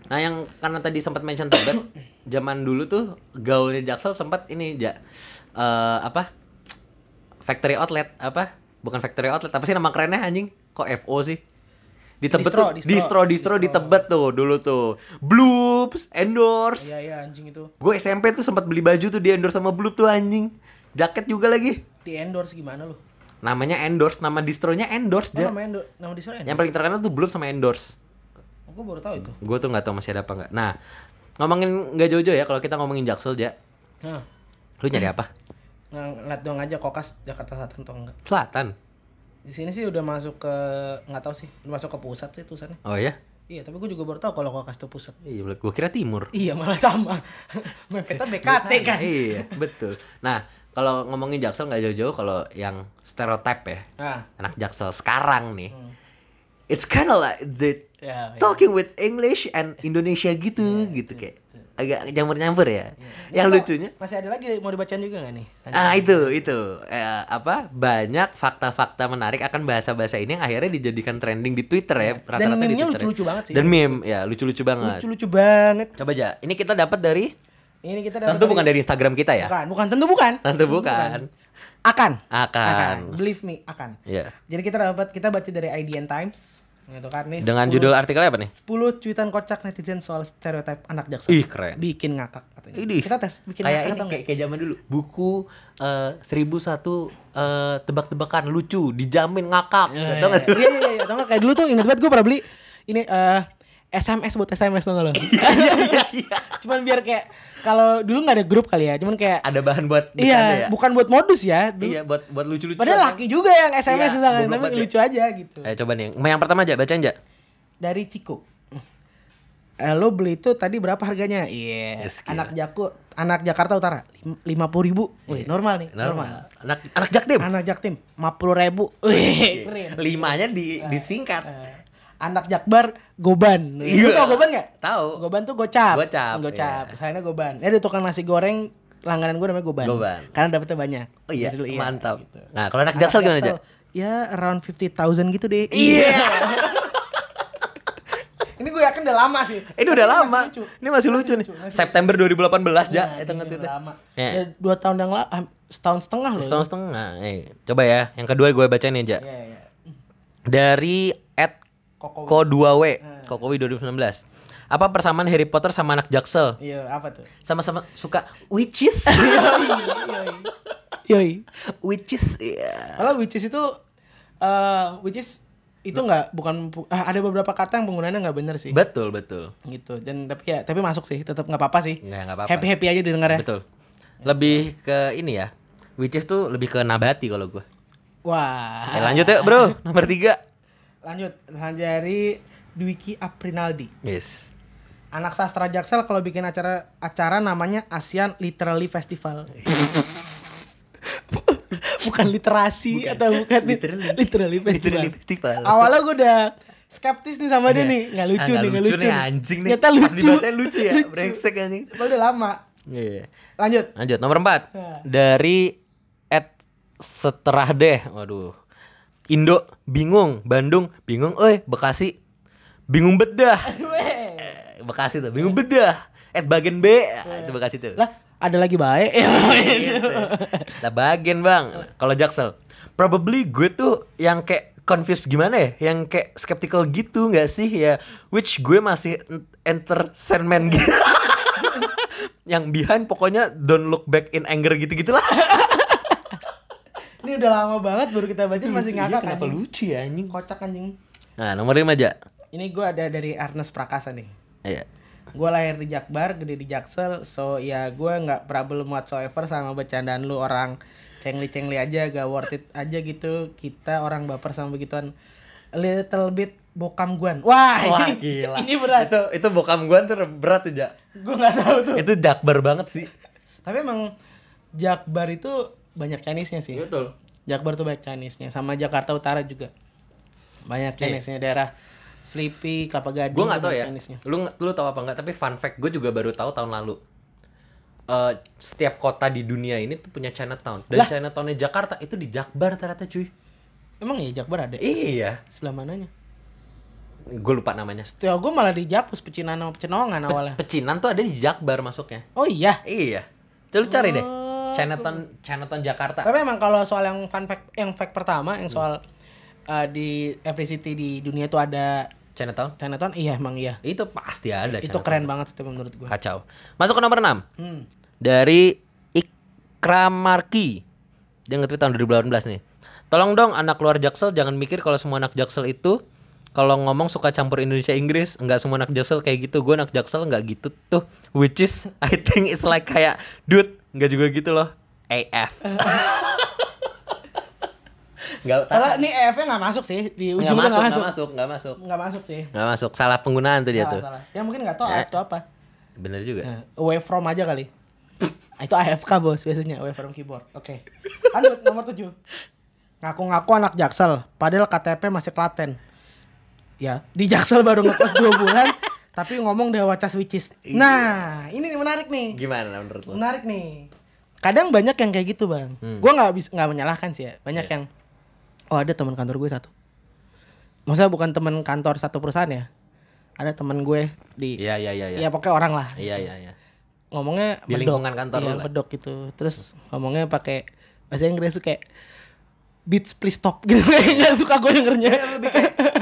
Nah, yang karena tadi sempat mention Tebet, zaman dulu tuh gaulnya Jaksel sempat ini, Ja. Eh, apa? Factory outlet apa? Bukan factory outlet, apa sih nama kerennya anjing? Kok FO sih? Di Tebet
Distro,
tuh,
distro.
distro, distro, di
Distro.
Tebet tuh dulu tuh. Bloops, endorse.
Iya iya anjing itu
Gue SMP tuh sempat beli baju tuh di endorse sama Bloop tuh anjing. Jaket juga lagi.
di endorse gimana lu?
Namanya endorse, nama distronya endorse
Oh,
aja.
nama endorse nama di sore
Yang paling terkenal tuh Bloop sama endorse.
Aku baru tahu itu.
Gue tuh nggak tahu masih ada apa nggak. Nah, ngomongin nggak jojo ya kalau kita ngomongin Jaksel aja.
Nah,
Lu nyari apa?
ng- ngeliat doang aja kokas Jakarta Selatan atau enggak.
Selatan.
Di sini sih udah masuk ke nggak tahu sih, udah masuk ke pusat sih tulisannya.
Oh ya?
Iya, tapi gue juga baru tahu kalau kokas itu pusat.
Iya, gue kira timur.
Iya, malah sama. [laughs] Mepetnya BKT kan.
Iya, betul. Nah, kalau ngomongin Jaksel nggak jauh-jauh kalau yang stereotip ya.
Nah,
Anak Jaksel sekarang nih.
Hmm.
It's kinda like the
ya, ya.
talking with English and Indonesia
Iya,
gitu gitu kayak agak nyampur-nyampur ya. Yang
Kalau-
lucunya
masih ada lagi mau dibacain juga nggak nih?
ah itu itu Eh, apa banyak fakta-fakta menarik akan bahasa-bahasa ini yang akhirnya dijadikan trending di Twitter ya rata-rata di
Iya. meme-nya
Twitter. ya.
lucu-lucu banget sih.
Dan meme ya lucu-lucu banget.
Lucu-lucu banget.
Coba aja. Ini kita dapat dari
Ini kita dapat
tentu
dari-
bukan dari Instagram kita ya.
Bukan, bukan tentu bukan.
Tentu bukan.
Akan.
Akan.
Believe me, akan.
Iya.
Jadi kita dapat kita baca dari IDN Times gitu kan nih.
Dengan
10
judul artikelnya apa nih?
10 cuitan kocak netizen soal stereotip anak jaksel.
Ih keren.
Bikin ngakak katanya.
Idih.
Kita tes bikin
kayak
ngakak
ini
atau
kayak, gitu, kayak zaman dulu buku eh, 1001 eh, tebak-tebakan lucu dijamin ngakak
enggak?
tau nggak?
Iya iya iya, tau nggak? kayak dulu tuh ingat banget gue pernah beli ini eh SMS buat SMS tau gak lo?
Iya,
cuman biar kayak kalau dulu nggak ada grup kali ya, cuman kayak
ada bahan buat bercanda
iya
ya?
bukan buat modus ya. Dulu,
iya buat buat lucu-lucu
Padahal laki juga yang
Iya,
SMS misalkan,
goblok
tapi
banget ya.
lucu aja gitu.
Eh coba nih, yang pertama aja bacain aja.
dari Ciko. Eh, lo beli itu tadi berapa harganya? Iya.
Yes, gila. Iya,
anak Jaku, anak Jakarta Utara, lima puluh ribu. Wih, normal nih, normal.
Normal. Anak anak Jaktim.
Anak Jaktim, lima puluh ribu. Wih, keren.
Limanya di disingkat.
Eh, anak Jakbar, Goban.
Iya.
Lu tau Goban nggak?
Tahu.
Goban tuh gocap.
Gocap,
Gocap.
iya.
Sayangnya Goban. Ya ada tukang nasi goreng langganan gue namanya Goban.
Goban.
Karena dapetnya banyak.
Oh iya,
Dari dulu,
mantap.
gitu.
Nah, kalau anak Jaksel gimana aja?
Ya around 50.000 gitu deh. [laughs]
Iya.
Ini gue yakin udah lama sih.
Ini
Tapi
udah
masih
lama.
lucu.
Ini masih lucu nih. September 2018
Ya,
ja, itu
ini
ngetweetnya.
udah lama.
Iya.
Udah dua tahun yang lalu, setahun setengah loh.
Setahun setengah. Eh, coba ya. Yang kedua gue bacain aja.
Iya, iya.
Dari at
Kokowi. Eh.
Ko2W. Kokowi 2019. Apa persamaan Harry Potter sama anak Jaksel?
Iya, apa tuh?
Sama-sama suka
[laughs]
witches.
Yoi.
witches. Iya.
Kalau witches itu eh witches itu nggak bukan ah, ada beberapa kata yang penggunaannya nggak bener sih.
Betul, betul.
gitu. Dan tapi ya, tapi masuk sih, tetap nggak apa-apa sih.
Nggak, nggak apa-apa.
Happy-happy aja didengarnya.
Betul. Lebih ke ini ya. Witches tuh lebih ke nabati kalau gue.
Wah.
Eh, lanjut yuk bro, nomor tiga.
Lanjut, lanjut dari Dwiki Aprinaldi.
Yes.
Anak sastra Jaksel kalau bikin acara acara namanya ASEAN Literally Festival. [laughs] bukan literasi atau bukan literally, literally festival.
Literally Festival.
Awalnya gue udah skeptis nih sama dia
Iya.
nih, nggak lucu
Ah,
nih, nggak lucu. nih.
anjing nih.
Ternyata
Pas
lucu.
dibacain lucu ya, brengsek anjing.
Padahal udah lama.
Iya. [laughs]
Lanjut.
Lanjut nomor empat
Nah.
dari at seterah deh. Waduh. Indo bingung, Bandung bingung, eh Bekasi bingung bedah. Eh, Bekasi tuh bingung bedah. At bagian B ah, itu Bekasi tuh.
lah, ada lagi baik.
[laughs] gitu. Lah bagian bang. Kalau Jaksel, probably gue tuh yang kayak confused gimana ya, yang kayak skeptical gitu [laughs] nggak sih ya? Which gue masih en- enter Sandman gitu. yang behind pokoknya don't look back in anger gitu-gitulah.
[laughs] Ini udah lama banget baru kita baca [laughs] masih ngakak kan.
iya, Kenapa lucu ya anjing?
Kocak anjing.
Nah, nomor 5 aja.
Ini gue ada dari Ernest Prakasa nih.
Iya.
Gue lahir di Jakbar, gede di Jaksel, so ya gue nggak problem whatsoever sama bercandaan lu orang cengli-cengli aja, gak worth it aja gitu. Kita orang baper sama begituan. Little bit bokam guan. Wah,
Wah,
ini,
gila.
ini berat.
Itu itu bokam gua tuh berat tuh, Ja.
Gue nggak tahu tuh.
Itu jakbar banget sih.
Tapi emang Jakbar itu banyak Chinese-nya sih.
Betul.
Jakbar tuh banyak Chinese-nya, sama Jakarta Utara juga. Banyak Chinese-nya daerah Sleepy, Kelapa Gading.
Gue Iya. nggak
tuh
tahu
banyak
ya.
Chinese-nya.
Lu lu tahu apa nggak? Tapi fun fact, gue juga baru tahu tahun lalu. Eh, setiap kota di dunia ini tuh punya Chinatown dan Chinatownnya Jakarta itu di Jakbar ternyata cuy.
Emang ya Jakbar ada?
Iya,
Sebelah mananya?
gue lupa namanya.
Setiap gue malah di Japus, Pecinan sama Pecenongan awalnya.
Pecinan tuh ada di Jakbar masuknya.
Oh iya.
Iya. Coba lu cari deh.
Oh. Eh.
Chinatown Chinatown Jakarta.
Tapi emang kalau soal yang fun fact, yang fact pertama, yang soal eh, di every city di dunia tuh ada
Chinatown.
Chinatown, iya emang iya.
Itu pasti ada
Itu
Chinatown.
keren banget itu menurut gue.
Kacau. Masuk ke nomor 6.
Hmm.
Dari Ikramarki. Dia nge-tweet tahun 2018 nih. Tolong dong anak luar Jaksel jangan mikir kalau semua anak Jaksel itu kalau ngomong suka campur Indonesia Inggris, nggak semua anak Jaksel kayak gitu. Gue anak Jaksel nggak gitu tuh. Which is [laughs] I think it's like kayak dude, nggak juga gitu loh. AF.
[laughs]
Nggak tahu.
Kalau ini EF-nya nggak masuk sih, di
Nggak masuk,
ujung nggak
nggak
masuk.
masuk, nggak masuk.
Nggak masuk sih.
Nggak masuk. Salah penggunaan tuh dia
Salah,
tuh.
salah. Ya mungkin nggak tahu
Ya.
AF itu apa.
Bener juga.
Nah, away from aja kali. Ah, itu AFK bos biasanya away from keyboard. Oke. Lanjut nomor 7. Ngaku-ngaku anak Jaksel, padahal KTP masih Klaten. Ya, di Jaksel baru ngekos 2 bulan,
[laughs]
tapi ngomong Dewa Cas Wicis. Nah, ini nih menarik nih.
Iya. Gimana Hmm. menurut lo?
Menarik nih. Kadang banyak yang kayak gitu, Bang. Gua nggak bisa nggak menyalahkan sih ya.
Iya.
Banyak yang Oh, ada teman kantor gue satu. Maksudnya bukan teman kantor satu perusahaan ya. Ada teman gue di
Iya, iya, iya, iya.
ya pokoknya orang lah
Iya, iya, iya.
ngomongnya
Di lingkungan kantor
iya,
lu lah.
medok gitu terus ngomongnya pakai bahasa Inggris tuh kayak beats please stop [laughs] gitu
Iya.
kayak nggak suka gue
Ya,
dengernya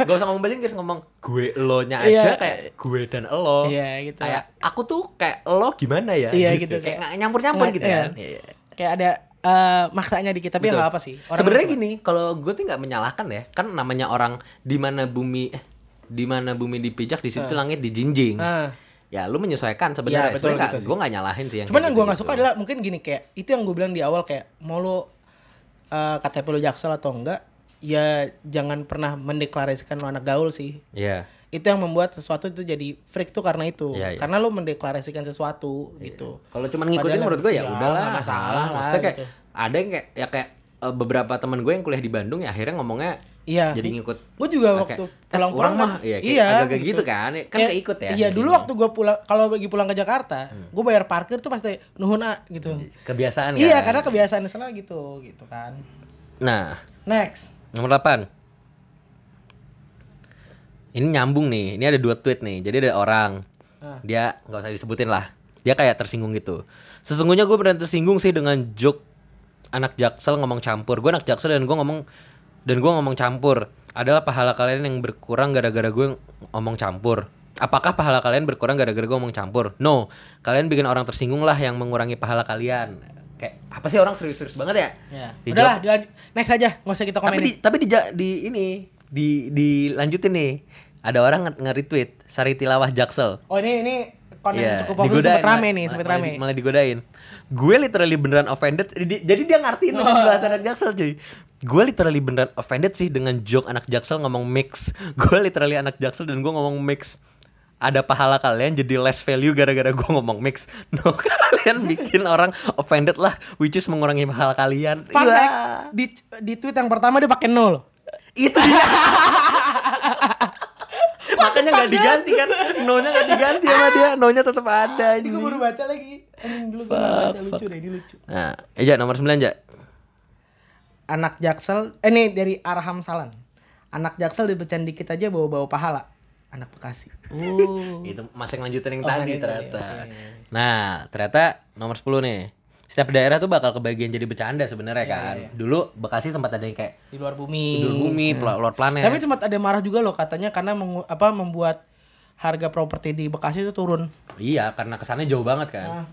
Gak usah ngomong bahasa Inggris ngomong gue lo nya
Iya.
aja kayak gue dan elo.
Iya, gitu.
Kayak aku tuh kayak lo gimana ya?
Iya, gitu, kayak-
Kayak nggak nyampur-nyampur
nggak-
gitu
iya.
kan. Iya, iya.
kayak ada eh, maksanya dikit tapi ya
Betul.
nggak apa sih Orang-
Sebenarnya gini, kalau gue tuh nggak menyalahkan ya, kan namanya orang di mana bumi eh, di mana bumi dipijak di situ langit dijinjing.
Ah.
Ya lu menyesuaikan sebenarnya.
Iya, betul
sebenarnya
gitu sih.
gue nggak nyalahin sih yang. kayak gitu
cuman yang gue nggak
gitu-gitu.
suka adalah mungkin gini kayak itu yang gue bilang di awal kayak mau lo eh, KTP lo jaksel atau enggak ya jangan pernah mendeklarasikan lo anak gaul sih
Iya.
itu yang membuat sesuatu itu jadi freak tuh karena itu
Iya, iya.
karena lo mendeklarasikan sesuatu gitu
Kalau cuman ngikutin
Padahal-
menurut gue ya,
Ya,
udahlah,
nggak masalah lah,
Maksudnya kayak
gitu.
ada yang kayak ya kayak eh, beberapa teman gue yang kuliah di Bandung ya akhirnya ngomongnya
Iya.
jadi ngikut.
Gue juga
Oke.
waktu
Eh, orang
pulang-pulang kan,
mah iya, kayak agak-agak gitu kan. Kan
Kayak-
keikut ya, Hmm.
Iya,
jadi
dulu
gini.
waktu gue pulang kalau lagi pulang ke Jakarta, gue bayar parkir tuh pasti nuhun ah gitu.
Kebiasaan
Iya,
kan?
karena kebiasaan di sana gitu, gitu kan.
Nah,
Next.
Nomor 8 Ini nyambung nih Ini ada dua tweet nih Jadi ada orang
Ah.
Dia nggak usah disebutin lah Dia kayak tersinggung gitu Sesungguhnya gue beneran tersinggung sih dengan joke Anak jaksel ngomong campur Gue anak jaksel dan gue ngomong Dan gue ngomong campur Adalah pahala kalian yang berkurang gara-gara gue ngomong campur Apakah pahala kalian berkurang gara-gara gue ngomong campur? No, kalian bikin orang tersinggung lah yang mengurangi pahala kalian Kayak apa sih orang serius-serius banget ya?
Ya.
Di
Udahlah, dilan- next aja, nggak usah kita
tapi di,
komenin.
tapi di, ja- di ini di dilanjutin nih. Ada orang nge- nge-retweet Sari Tilawah Jaksel.
Oh, ini ini konten
Iya,
cukup populer sempet rame
malah-
nih, sempet
malah-
rame.
Malah, digodain. Gue literally beneran offended. Di- jadi dia ngertiin
Oh.
sama bahasa anak Jaksel, cuy. Gue literally beneran offended sih dengan joke anak Jaksel ngomong mix. [laughs] Gue literally anak Jaksel dan gue ngomong mix. Ada pahala kalian jadi less value gara-gara gue ngomong mix. [laughs] No, kalian bikin orang offended lah, which is mengurangi pahala kalian. Iya.
Fun
Wah.
fact, di di tweet yang pertama dia pakai nol.
Itu [laughs] dia. Makanya nggak diganti kan. No-nya nggak diganti sama dia. No-nya tetap ada
Ini gue
ini.
baru baca lagi. Anjing dulu gue baru baca lucu deh, ini lucu.
Nah, Eja nomor 9, Ja.
anak Jaksel eh ini dari Arham Salan anak Jaksel dipecahin dikit aja bawa-bawa pahala anak Bekasi oh
Itu masih ngelanjutin yang
Oh,
tadi
yang tadi,
ternyata.
oke.
Nah, ternyata nomor 10 nih. Setiap daerah tuh bakal kebagian jadi bercanda sebenarnya kan. Dulu Bekasi sempat ada yang kayak
di luar bumi
tidur bumi, pla- luar planet.
tapi sempat ada marah juga loh katanya karena mengu- apa membuat harga properti di Bekasi itu turun
Iya, karena kesannya jauh banget kan.
Ah.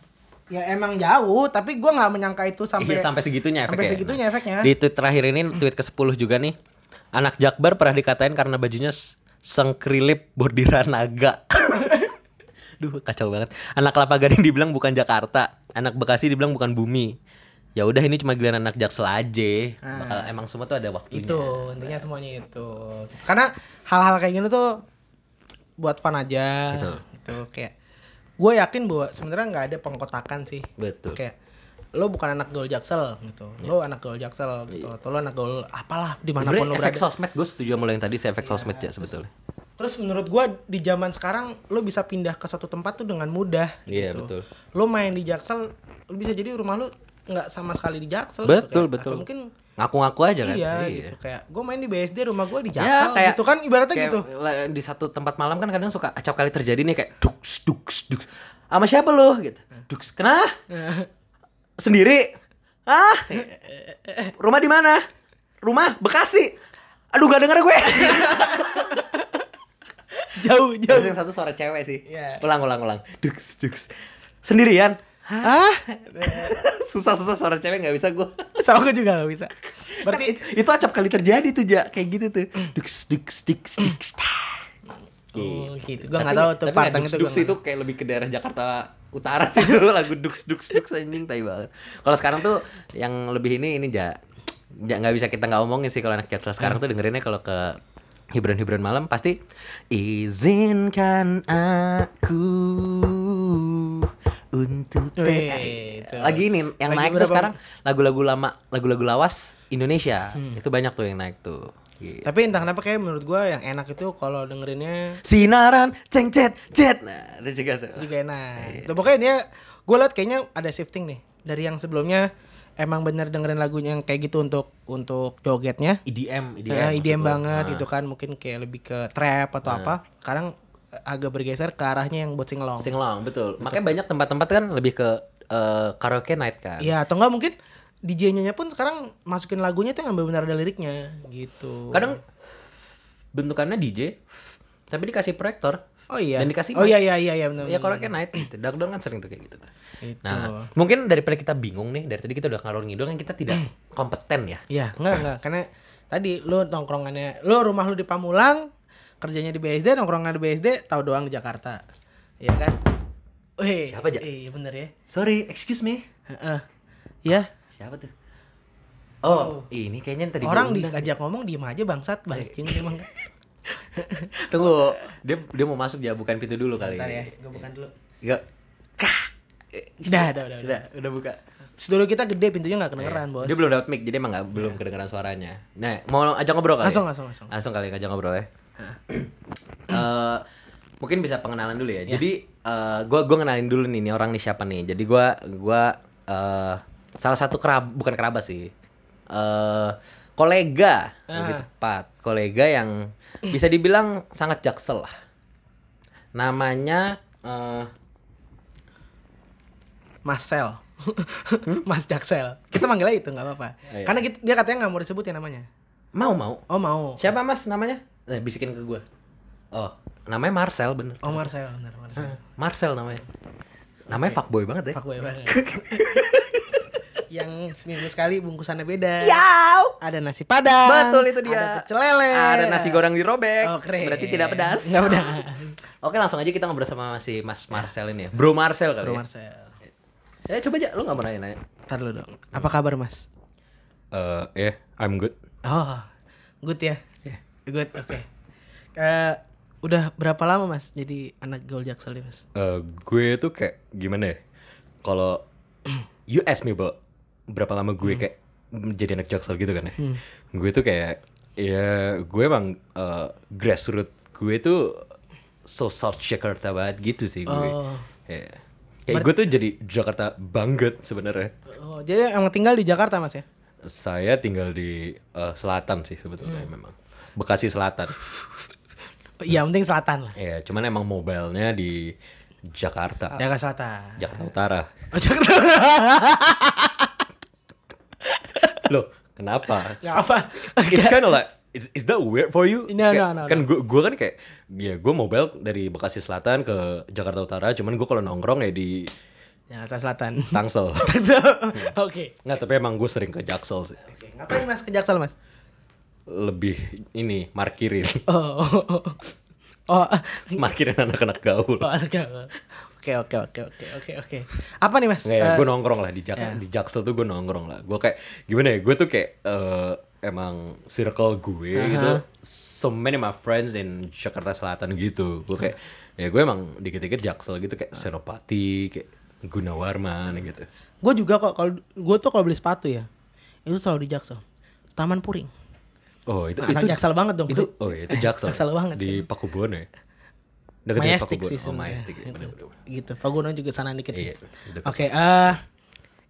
Ya emang jauh, tapi gua nggak menyangka itu sampai
Iya, sampai segitunya
sampai
efeknya.
segitunya
Nah,
efeknya.
Di tweet terakhir ini tweet ke-10 juga nih. Anak Jakbar pernah dikatain karena bajunya s- sengkrilip bordiran naga. [laughs] Duh, kacau banget. Anak Kelapa Gading dibilang bukan Jakarta, anak Bekasi dibilang bukan bumi. Ya udah ini cuma giliran anak Jaksel aja. Bakal emang semua tuh ada waktunya.
Ah. itu
iya.
intinya semuanya itu karena hal-hal kayak gini tuh buat fun aja
Betul.
itu kayak gue yakin bahwa sebenarnya nggak ada pengkotakan sih
Betul. Iya.
kayak lo bukan anak gaul jaksel gitu lo anak gaul jaksel gitu atau lo anak gaul apalah dimanapun
Sebenarnya
lo
efek
berada
sosmed gue setuju sama lo yang tadi sih
Iya,
efek sosmed ya sebetulnya.
terus menurut gue di zaman sekarang lo bisa pindah ke suatu tempat tuh dengan mudah
Iya,
gitu.
betul.
lo main di jaksel lo bisa jadi rumah lo nggak sama sekali di jaksel gitu
Betul,
kayak.
betul.
atau mungkin
Ngaku-ngaku aja kan.
iya, gitu kayak gue main di BSD rumah gue di
Ya,
jaksel gitu kan ibaratnya
kayak
gitu [laughs]
la- Di satu tempat malam kan kadang suka acap kali terjadi nih kayak duks duks duks. Sama siapa lu gitu. Duks. Kena? Sendiri? Ah? Rumah di mana? Rumah Bekasi. Aduh gak denger
[laughs]
gue.
jauh
Terus
jauh
yang satu suara cewek sih.
Iya.
Ulang ulang ulang. Duks duks. Sendirian. Hah? [laughs]
ah
Susah-susah suara cewek gak bisa gue.
sama gue juga gak bisa
Berarti
berarti
itu acap kali terjadi tuh, Ja. Kayak gitu tuh.
Mm.
Duks duks duks duks. tah.
oh, gitu gue
Tapi-
nggak tahu tuh
tapi
partang
nggak
itu
Dux Dux itu kayak lebih ke daerah Jakarta Utara sih itu [laughs] lagu Dux Dux Dux anjing tai banget. Kalau sekarang tuh yang lebih ini ini ja ja nggak bisa kita nggak omongin sih kalau anak Jaksel
Mm.
sekarang tuh dengerinnya kalau ke hiburan-hiburan malam pasti izinkan aku untuk
Wih,
te-"
itu.
eh, Gitu. lagi ini yang
Lagi
naik tuh
berapa?
sekarang lagu-lagu lama lagu-lagu lawas Indonesia itu banyak tuh yang naik tuh Gitu.
tapi entah kenapa kayak menurut gue yang enak itu kalau dengerinnya
sinaran ceng cet cet nah itu juga tuh Iya,
juga enak itu pokoknya dia gue liat kayaknya ada shifting nih dari yang sebelumnya emang bener dengerin lagunya yang kayak gitu untuk untuk jogetnya
E EDM, EDM, Iya,
Ya,
maksud Ah.
IDM
lu.
banget
Nah,
gitu kan mungkin kayak lebih ke trap atau apa sekarang eh, agak bergeser ke arahnya yang buat singelong
Singlong, betul. Makanya banyak tempat-tempat kan lebih ke eh, karaoke night kan.
Iya atau enggak mungkin DJ-nya pun sekarang masukin lagunya tuh yang benar-benar ada liriknya gitu.
Kadang bentukannya DJ tapi dikasih proyektor.
oh iya.
dan dikasih
Oh
mic.
iya iya iya iya benar.
Ya karaoke night gitu. Dark Dawn kan sering tuh kayak gitu. tuh.
Itu.
Nah, mungkin daripada kita bingung nih, dari tadi kita udah ngalor ngidul kan kita tidak kompeten ya.
Iya, enggak enggak karena tadi lu nongkrongannya lu rumah lu di Pamulang, kerjanya di BSD, nongkrongan di BSD, tahu doang di Jakarta. Iya kan? Wih,
Siapa, Ja?
Iya bener ya.
Sorry, excuse me.
Heeh. Ya,
Siapa tuh? Oh, ini kayaknya yang tadi gua Iya.
orang
undang.
diajak ngomong diem aja bangsat bahas gini emang.
[laughs] Tunggu, dia dia mau masuk ya, bukan pintu dulu kali.
Bentar ya,
ini.
gue bukan dulu.
Enggak. Iya.
Udah, udah, udah. udah.
Udah, udah buka.
Studio kita gede pintunya nggak kedengeran,
Iya.
Bos. Iya.
Dia belum dapat mic, jadi emang nggak belum kedengeran suaranya. Nah, mau ajak ngobrol kali.
Langsung,
ya?
langsung, langsung.
Langsung kali ajak ngobrol ya. Eh, mungkin bisa pengenalan dulu ya. Jadi eh, gua gua kenalin dulu nih, nih orang nih siapa nih. Jadi gua gua eh, salah satu kerab bukan kerabat sih. Eh kolega lebih tepat. Kolega yang bisa dibilang sangat jaksel lah. Namanya eh,
Mas Sel. [laughs] Mas Jaksel. Kita manggilnya itu nggak apa-apa.
Hmm? Iya.
Karena kita- dia katanya nggak mau disebutin namanya.
mau mau.
Oh mau.
Siapa Mas namanya? Eh, bisikin ke gua. Oh, namanya Marcel bener.
Oh Marcel, benar
Ah.
Marcel.
Marcel namanya. Namanya fuckboy banget ya.
Fuckboy
[laughs]
banget. Yang seminggu sekali bungkusannya beda. Ada nasi padang.
Ya. Betul itu dia.
Ada pecel lele.
Ada nasi goreng dirobek.
Oh, keren.
Berarti tidak pedas.
Nggak pedas.
[laughs] Oke, langsung aja kita ngobrol sama si Mas Marcel ini ya. Bro Marcel kali
Bro
ya.
Marcel.
Eh, coba aja lu enggak mau nanya-nanya.
Ntar dulu dong. Apa kabar Mas?
Eh, yeah, I'm good.
Oh, good ya.
Iya.
Good, oke. Eh, udah berapa lama Mas jadi anak gaul jaksel ya, Mas?
Eh, gue tuh kayak gimana ya? Kalau [clears throat] you ask me about berapa lama gue kayak jadi anak jaksel gitu kan ya?
Hmm.
Gue tuh kayak ya gue emang eh, grassroots gue tuh so South Jakarta banget gitu sih gue.
Oh.
Ya. Kayak gue tuh jadi Jakarta banget sebenarnya.
Oh, jadi emang tinggal di Jakarta
Iya.
Mas ya?
Saya tinggal di eh, selatan sih sebetulnya
Hmm.
memang. Bekasi Selatan.
Iya, penting selatan lah.
Ya, cuman emang mobilenya di Jakarta,
Jakarta Selatan.
Jakarta Utara.
Oh, Jakarta.
Loh, kenapa?
Ya apa?
It's kind of like is, is that weird for you?
No,
Kayak-
no, no,
Kan gue kan kayak ya gue mobil dari Bekasi Selatan ke Jakarta Utara, cuman gue kalau nongkrong ya di
Jakarta
[laughs]
Selatan.
Tangsel.
Tangsel. Oke.
Nggak, tapi emang gue sering ke Jaksel sih.
Oke, Ngapain Mas ke Jaksel, Mas?
Lebih ini, markirin. [laughs]
Oh. [laughs] Oh,
markirin anak-anak gaul.
oh, anak Jaksel. Oke, oke, oke, oke, oke, oke. Apa nih, Mas?
Nggak ya,
Eh,
gue nongkrong lah di Jaksel. Di Jaksel tuh gue nongkrong lah. Gue kayak, gimana ya, gue tuh kayak eh, emang circle gue gitu. So many my friends in Jakarta Selatan gitu. Gue kayak, ya gue emang dikit-dikit Jaksel gitu. Kayak Senopati, kayak Gunawarman gitu.
Gue juga kok kalau gue tuh kalau beli sepatu ya, itu selalu di Jaksel. Taman Puring.
Oh itu,
Anak
itu
Jaksel banget dong.
itu oh iya, itu Jaksel.
Jaksel banget,
Di Pakubuwono ya. Dekat dari
Majestic
Pakubuwono.
sih
Oh,
sebenarnya.
Majestic. ya,
Gitu.
bener-bener.
Gitu. Pagunan juga sana dikit sih.
Iya, dekat.
Oke, eh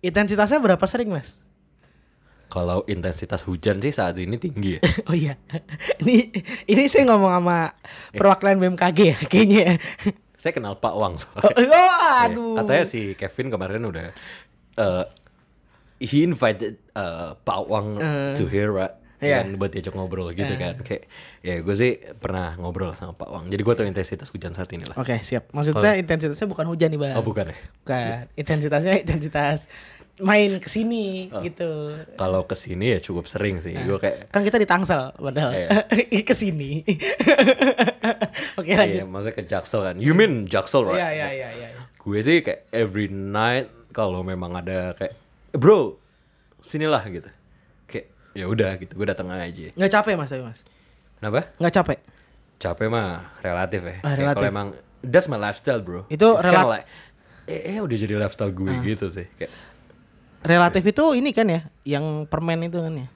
intensitasnya berapa sering, Mas?
Kalau intensitas hujan sih saat ini tinggi ya.
[laughs] oh iya. Ini ini saya ngomong
Eh.
sama perwakilan BMKG ya kayaknya.
[laughs] Saya kenal Pak Wang
Oh,
soalnya.
oh,
Iya.
aduh.
Katanya si Kevin kemarin udah eh he invited eh, Pak Wang to here right?
Iya. Eh.
Kan, buat diajak ngobrol gitu kan. Kayak ya gue sih pernah ngobrol sama Pak Wang. Jadi gue tahu intensitas hujan saat ini lah.
Oke, siap. Maksudnya intensitasnya bukan hujan nih, Bang.
Oh bukan ya.
Bukan. Intensitasnya intensitas main ke sini
Oh.
gitu.
Kalau kesini ya cukup sering sih. Gue kayak
Kan kita di Tangsel padahal. [laughs] ke sini. Oke, lanjut.
Iya, maksudnya ke Jaksel kan. You mean Jaksel, right?
Iya, iya, iya, iya.
Gue sih kayak every night kalau memang ada kayak bro, sinilah gitu. Kayak ya udah gitu, gue datang aja.
Nggak capek, Mas, tapi Mas.
Kenapa?
Nggak capek.
Capek mah relatif ya.
Ah,
Kayak
relatif.
Kalau emang that's my lifestyle, bro.
Itu Ah.
It's kinda
relat-
like, eh, eh, udah jadi lifestyle gue gitu sih. Kayak
Relatif itu ini kan ya, yang permen itu kan ya.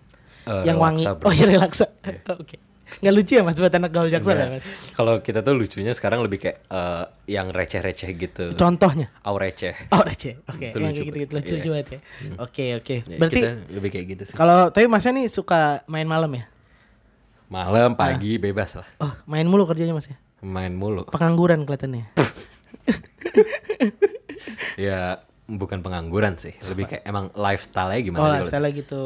Eh,
yang wangi.
relaxa, bro.
Oh, iya relaksa. [laughs] Oke. Nggak lucu ya Mas buat anak gaul Jaksel ya,
Enggak.
Mas?
Kalau kita tuh lucunya sekarang lebih kayak eh, yang receh-receh gitu.
Contohnya.
Au receh.
Oh, receh. Oke,
Itu
yang
lucu,
kayak gitu-gitu
Bro.
lucu
Iya.
juga ya. Oke, oke.
Ya,
Berarti
kita lebih kayak gitu sih.
kalau tapi Masnya nih suka main malam ya?
Malam, pagi, bebas lah.
Oh, main mulu kerjanya Mas ya?
Main mulu.
Pengangguran kelihatannya.
[laughs] Ya bukan pengangguran sih, lebih kayak emang lifestyle-nya gimana
oh,
sih kalau-
salah
[laughs]
gitu.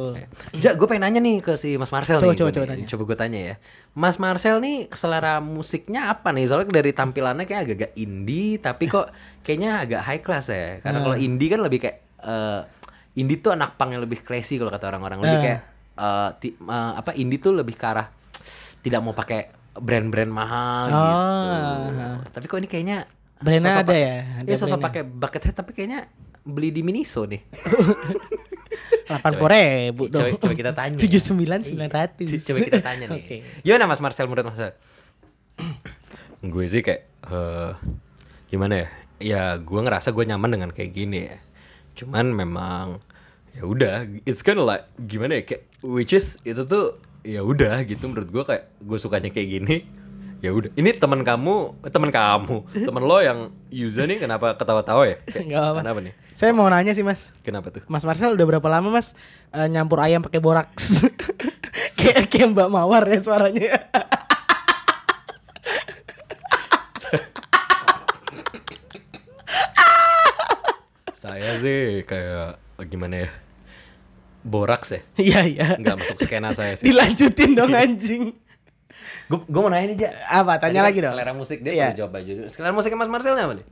Ja, gue pengen nanya nih ke si Mas Marcel
Coba,
nih.
coba,
Gua
coba
nih.
tanya.
Coba gue tanya ya. Mas Marcel nih selera musiknya apa nih? Soalnya dari tampilannya kayak agak-agak indie, tapi kok kayaknya agak high class ya. Karena kalau
Hmm.
indie kan lebih kayak eh, indie tuh anak pang yang lebih classy kalau kata orang-orang. Lebih
Ah.
kayak eh, ti- eh, apa indie tuh lebih ke arah tidak mau pakai brand-brand mahal gitu.
Ah.
Tapi kok ini kayaknya
Brandnya
sosok
ada
pa-
ya? Ada
Iya sosok
brandnya.
pakai bucket hat tapi kayaknya beli di Miniso nih.
80 ribu
Coba,
dong.
coba kita
[laughs]
tanya.
79
Iya. [laughs]
900.
Coba kita
[laughs]
tanya nih.
Oke.
Gimana Mas Marcel menurut Mas Marcel? [clears throat] gue sih kayak eh, gimana ya? Ya gue ngerasa gue nyaman dengan kayak gini ya. Cuman memang ya udah, it's kind like gimana ya kayak which is itu tuh ya udah gitu menurut gue kayak gue sukanya kayak gini. [laughs] Ya udah, ini teman kamu, eh, teman kamu, [laughs] teman lo yang user nih kenapa ketawa-tawa ya? Kayak,
Nggak apa-apa.
Kenapa nih?
Saya mau nanya sih, Mas.
Kenapa tuh?
Mas Marcel udah berapa lama Mas eh, nyampur ayam pakai boraks? [laughs] kayak kayak Mbak Mawar ya suaranya. [laughs]
Saya sih kayak gimana ya? Boraks ya?
Iya, iya.
nggak masuk skena saya
[laughs]
sih.
Dilanjutin dong anjing.
Gue mau nanya nih, Ja.
Apa? Tanya
Tadi
lagi
kan
dong.
Selera musik dia
Iya.
perlu jawab aja dulu. Selera musiknya Mas Marcelnya apa nih?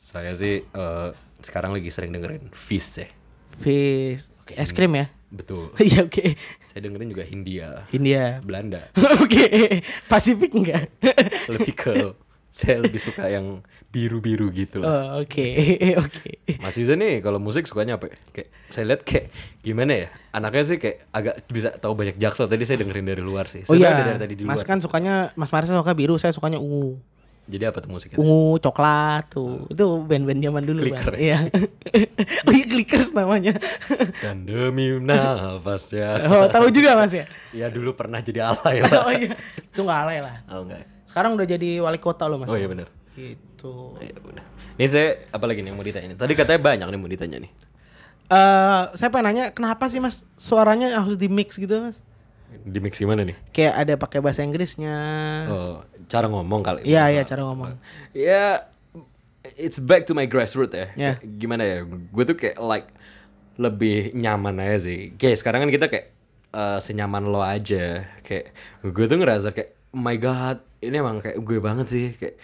Saya sih eh, sekarang lagi sering dengerin Fizz ya.
Fish. Oke,
Hmm.
es krim ya. [laughs]
Betul.
Iya, oke.
Saya dengerin juga Hindia,
India.
Belanda.
[laughs] Oke, Pasifik enggak?
Lebih ke saya lebih suka yang biru-biru gitu lah.
Oh, oke, [laughs] oke.
Mas Yuza nih kalau musik sukanya apa? ya? Kayak saya lihat kayak gimana ya? Anaknya sih kayak agak bisa tahu banyak jaksel. Tadi saya dengerin dari luar sih.
Oh
Sebenarnya
iya,
dari tadi di luar.
Mas kan sukanya Mas Marcel suka biru, saya sukanya ungu.
Jadi apa tuh musiknya?
Ungu coklat tuh. Itu band-band zaman
Gitu.
dulu,
Hmm. Clicker ya?
Bang. Iya. [laughs] oh iya, Clickers namanya. [laughs]
Dan demi nafasnya.
oh, tahu juga Mas
[laughs]
ya?
Ya dulu pernah jadi alay
[laughs]
lah.
oh iya. Itu nggak alay lah.
Oh enggak.
Sekarang udah jadi wali kota loh, Mas.
Oh iya benar.
Gitu.
Iya benar. Ini saya apa lagi nih yang mau ditanya? nih? Tadi katanya banyak nih yang mau ditanya nih.
Eh, saya pengen nanya kenapa sih Mas suaranya harus di mix gitu, Mas?
Di mix gimana nih?
Kayak ada pakai bahasa Inggrisnya.
Oh, cara ngomong kali.
Iya, iya cara ngomong.
Ya it's back to my grassroots ya.
Ya.
Gimana ya? Gue tuh kayak like lebih nyaman aja sih. Kayak sekarang kan kita kayak eh, senyaman lo aja. Kayak gue tuh ngerasa kayak "Oh my god, ini emang kayak gue banget sih kayak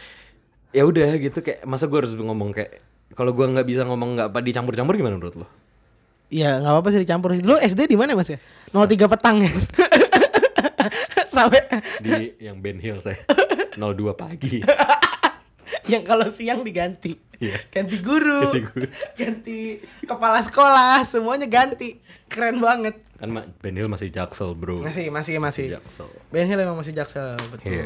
ya udah gitu kayak masa gue harus ngomong kayak
kalau gua nggak bisa ngomong nggak apa dicampur-campur gimana menurut lo?
Iya, nggak apa-apa sih dicampur. Lu SD di mana Mas ya? 03 petang [laughs] ya. Sampai
Di yang Ben Hill
[laughs]
saya 02 pagi.
yang kalau siang diganti.
Iya.
Ganti guru,
Ganti guru.
ganti kepala sekolah, semuanya ganti. Keren banget.
Kan Ma- Ben Hill masih jaksel bro.
Masih, masih, masih.
jaksel.
Ben Hill emang masih jaksel, betul.
Iya.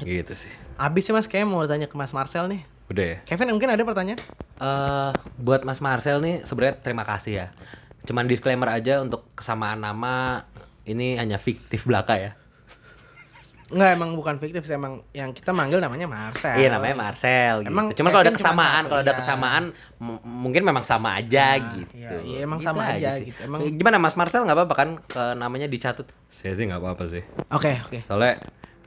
Oh.
Gitu sih.
Abis sih Mas kayaknya mau tanya ke Mas Marcel nih.
Udah ya.
Kevin mungkin ada pertanyaan?
eh buat Mas Marcel nih sebenarnya terima kasih ya. Cuman disclaimer aja untuk kesamaan nama ini hanya fiktif belaka ya.
Enggak, emang bukan fiktif sih, emang yang kita manggil namanya Marcel.
Iya namanya Marcel gitu.
Emang
cuman kalau ada
Kevin cuman
kesamaan,
satu,
kalau ada
iya.
kesamaan m- mungkin memang sama aja
Nah,
gitu.
iya, iya, emang sama aja
sih.
gitu. Emang-
Gimana Mas Marcel nggak apa-apa kan ke namanya dicatut?
Saya sih nggak apa-apa sih.
Oke, oke.
Soalnya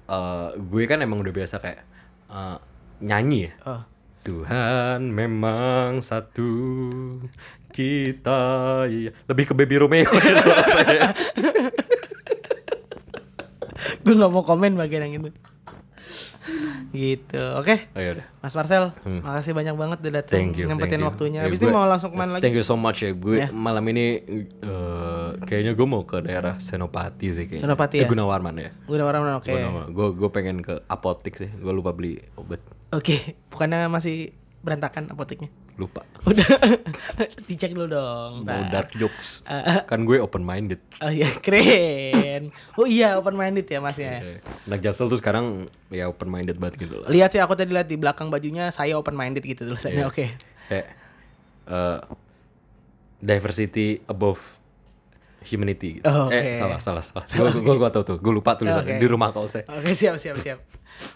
eh, gue kan emang udah biasa kayak eh, nyanyi ya.
Oh.
Tuhan memang satu kita iya- lebih ke Baby Romeo [laughs] ya suara saya.
Gue nggak mau komen bagian yang itu. gitu. Oke.
Oh, yaudah.
Mas Marcel, makasih banyak banget udah datang
Hmm. Thank you.
nyempetin
thank you.
waktunya.
Ya,
Habis
gue-
ini mau langsung kemana lagi?
Thank you so much ya. Gue
Ya.
malam ini eh, kayaknya gue mau ke daerah Senopati sih kayaknya.
Senopati
Eh,
ya?
Gunawarman ya.
Gue udah warna oke.
Gunawarman. Gue gue pengen ke apotik sih. Gue lupa beli obat.
Oke, bukannya masih berantakan apoteknya.
Lupa.
Udah. [laughs] Dicek dulu dong.
Mau
ntar.
dark jokes.
Eh, eh,
Kan gue open minded.
[laughs] oh iya, keren. Oh iya, open minded ya Mas ya.
Eh, Anak Jaksel tuh sekarang ya open minded banget gitu loh.
Lihat sih aku tadi lihat di belakang bajunya saya open minded gitu tulisannya.
Iya.
Oke.
Kayak eh, diversity above humanity. gitu.
Oh, oke.
Eh salah salah salah. Gue gue gue tau tuh. Gue lupa tulisannya
Oke.
di rumah kau saya.
Oke, siap siap siap.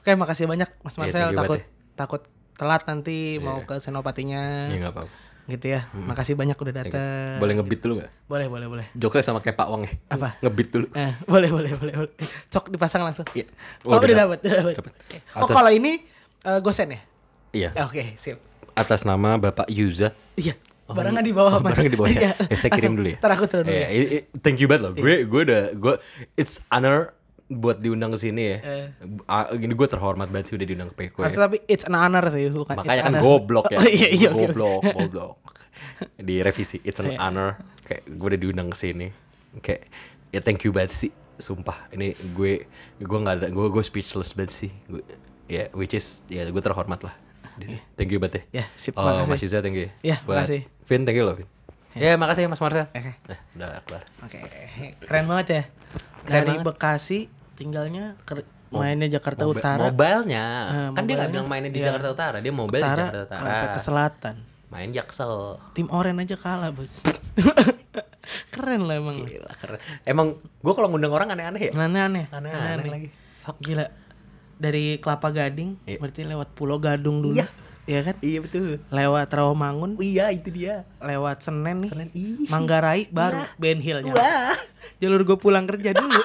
Oke, makasih banyak Mas
Iya,
Marcel
thank you
takut
banget
takut telat nanti mau
Iya.
ke senopatinya
Ya nggak apa-apa.
gitu ya. Makasih banyak udah
Ya,
datang.
Boleh ngebeat dulu nggak?
Boleh, boleh, boleh.
Jokesnya sama kayak Pak Wang ya.
Apa?
Ngebeat dulu.
Eh, [laughs] boleh, boleh, boleh, boleh. Cok dipasang langsung.
Iya.
Oh,
Waduh,
udah
dap-
dapat, udah dapat.
dapet.
Oke. Oh,
Atas-
kalau ini eh, gosen ya?
Iya.
Ya, Oke, siap.
Atas nama Bapak Yuza.
Iya. Barangnya di bawah,
Oh,
Mas.
barangnya di bawah.
[laughs] Iya.
Ya, saya kirim
Langsung.
dulu ya.
Ntar aku turun dulu
Iya,
ya. Iya.
i- i- thank you banget loh. Gue gue udah gue it's honor buat diundang ke sini ya.
Eh.
Ah, Ini gue terhormat banget sih udah diundang ke Peko
Maksud
ya.
tapi it's an honor sih, bukan
Makanya
it's
kan
honor.
goblok ya.
[laughs] Oh, iya, iya, oke, oke.
goblok, goblok. Di revisi it's an
Iya.
honor kayak gue udah diundang ke sini. Kayak ya thank you banget sih. Sumpah, ini gue gue nggak ada gue gue speechless banget sih. Gue- ya which is ya gue terhormat lah. Thank you banget
Ya,
ya.
sip,
oh, Mas
makasih.
Yuza thank you.
Ya,
Buat
makasih.
Vin thank you loh Vin.
Ya makasih Mas Marcel.
Oke.
Nah, udah kelar.
Oke, keren banget ya.
Keren
Dari
banget.
Bekasi tinggalnya ke- mainnya Jakarta
Mobi-
Utara,
Mobilnya.
Eh,
kan dia nggak
mobilnya.
bilang mainnya di
Iya.
Jakarta Utara, dia mobile
Utara,
di Jakarta
sampai
Utara.
ke selatan.
Main Jaksel.
Tim Oren aja kalah,
[laughs]
Bos. keren lah emang. Nah,
Gila, keren. Emang gue kalau ngundang orang aneh-aneh ya.
Aneh-aneh.
Aneh-aneh lagi.
Fuck gila. Dari Kelapa Gading
Iya.
berarti lewat Pulau Gadung dulu.
Iya.
Iya kan?
Iya betul.
Lewat Rawamangun,
Iya itu dia.
lewat Senen nih.
Senen. Iya. Ih.
Manggarai baru Ben Hill nyampe.
Wah.
Jalur gue pulang
Iya.
kerja dulu.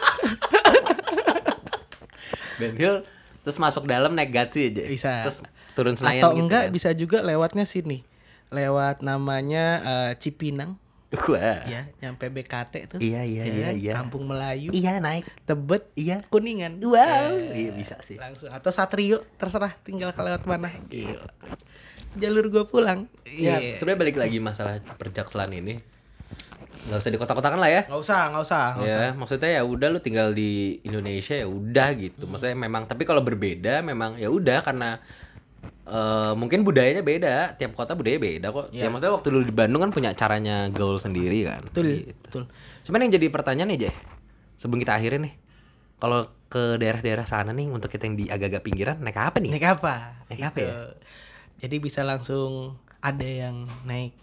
Ben Hill terus masuk dalam naik gatsi aja.
Bisa.
Terus turun Senayan
Atau
gitu
enggak
kan.
bisa juga lewatnya sini. Lewat namanya eh, Cipinang
Wah.
ya, nyampe BKT tuh.
Ah. Iya, iya,
Ya
iya,
kan?
iya.
Kampung Melayu,
Iya naik.
Tebet,
Iya.
Kuningan.
Wow.
Eh,
Iya bisa sih.
langsung atau Satrio terserah tinggal ke lewat mana. Gila. Jalur gue pulang. Iya.
Ya, Iya. sebenarnya balik lagi masalah perjakselan ini. Nggak usah dikotak-kotakan lah ya.
Nggak usah, nggak usah. nggak usah.
Ya, maksudnya ya udah lu tinggal di Indonesia ya udah gitu.
Hmm.
Maksudnya memang tapi kalau berbeda memang ya udah karena eh, mungkin budayanya beda, tiap kota budaya beda kok. Ya maksudnya waktu lu di Bandung kan punya caranya gaul sendiri kan.
Betul,
Gitu.
betul.
Cuman yang jadi pertanyaan nih, Jeh. Sebelum kita akhirin nih. Kalau ke daerah-daerah sana nih untuk kita yang di agak-agak pinggiran naik apa nih?
Naik apa?
Naik apa
Gitu.
ya?
Jadi bisa langsung ada yang naik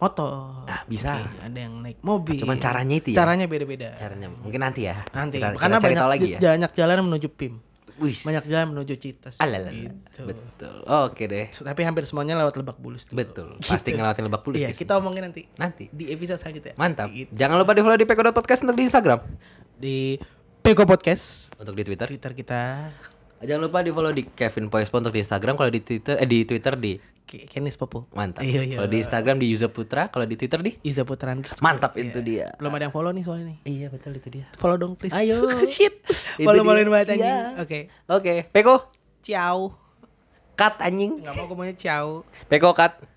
motor.
Nah, bisa.
Oke, ada yang naik mobil.
Cuman caranya itu ya?
Caranya beda-beda.
Caranya mungkin nanti ya.
Nanti
Kita,
karena
kita cari
banyak
tahu lagi ya.
banyak jalan menuju PIM.
Wih.
Banyak jalan menuju Citas.
Alalala.
Gitu.
Betul. Oke deh.
Tapi hampir semuanya lewat Lebak Bulus. dulu.
Betul. Pasti ngelewatin Lebak Bulus ya. di
Iya, kita omongin nanti
Nanti.
di episode selanjutnya.
Mantap.
Gitu.
Jangan lupa di follow di Peko Podcast untuk di Instagram,
Di Peko Podcast
untuk di Twitter.
Twitter kita
Jangan lupa di follow di Kevin Poespo untuk di Instagram. Kalau di Twitter, eh, di Twitter di
Ke- Kenis Popo.
mantap.
Iya, iya.
Kalau di Instagram di Yuza Putra. Kalau di Twitter di
Iza Putra underscore.
mantap itu dia.
Belum ada yang follow nih soalnya nih.
Iya betul itu dia.
Follow dong please.
Ayo.
[laughs] Shit.
Itu dia.
Follow-followin banget anjing.
Iya.
Oke.
Oke, Peko.
Ciao. cut anjing.
Gak mau gue maunya ciao.
Peko cut.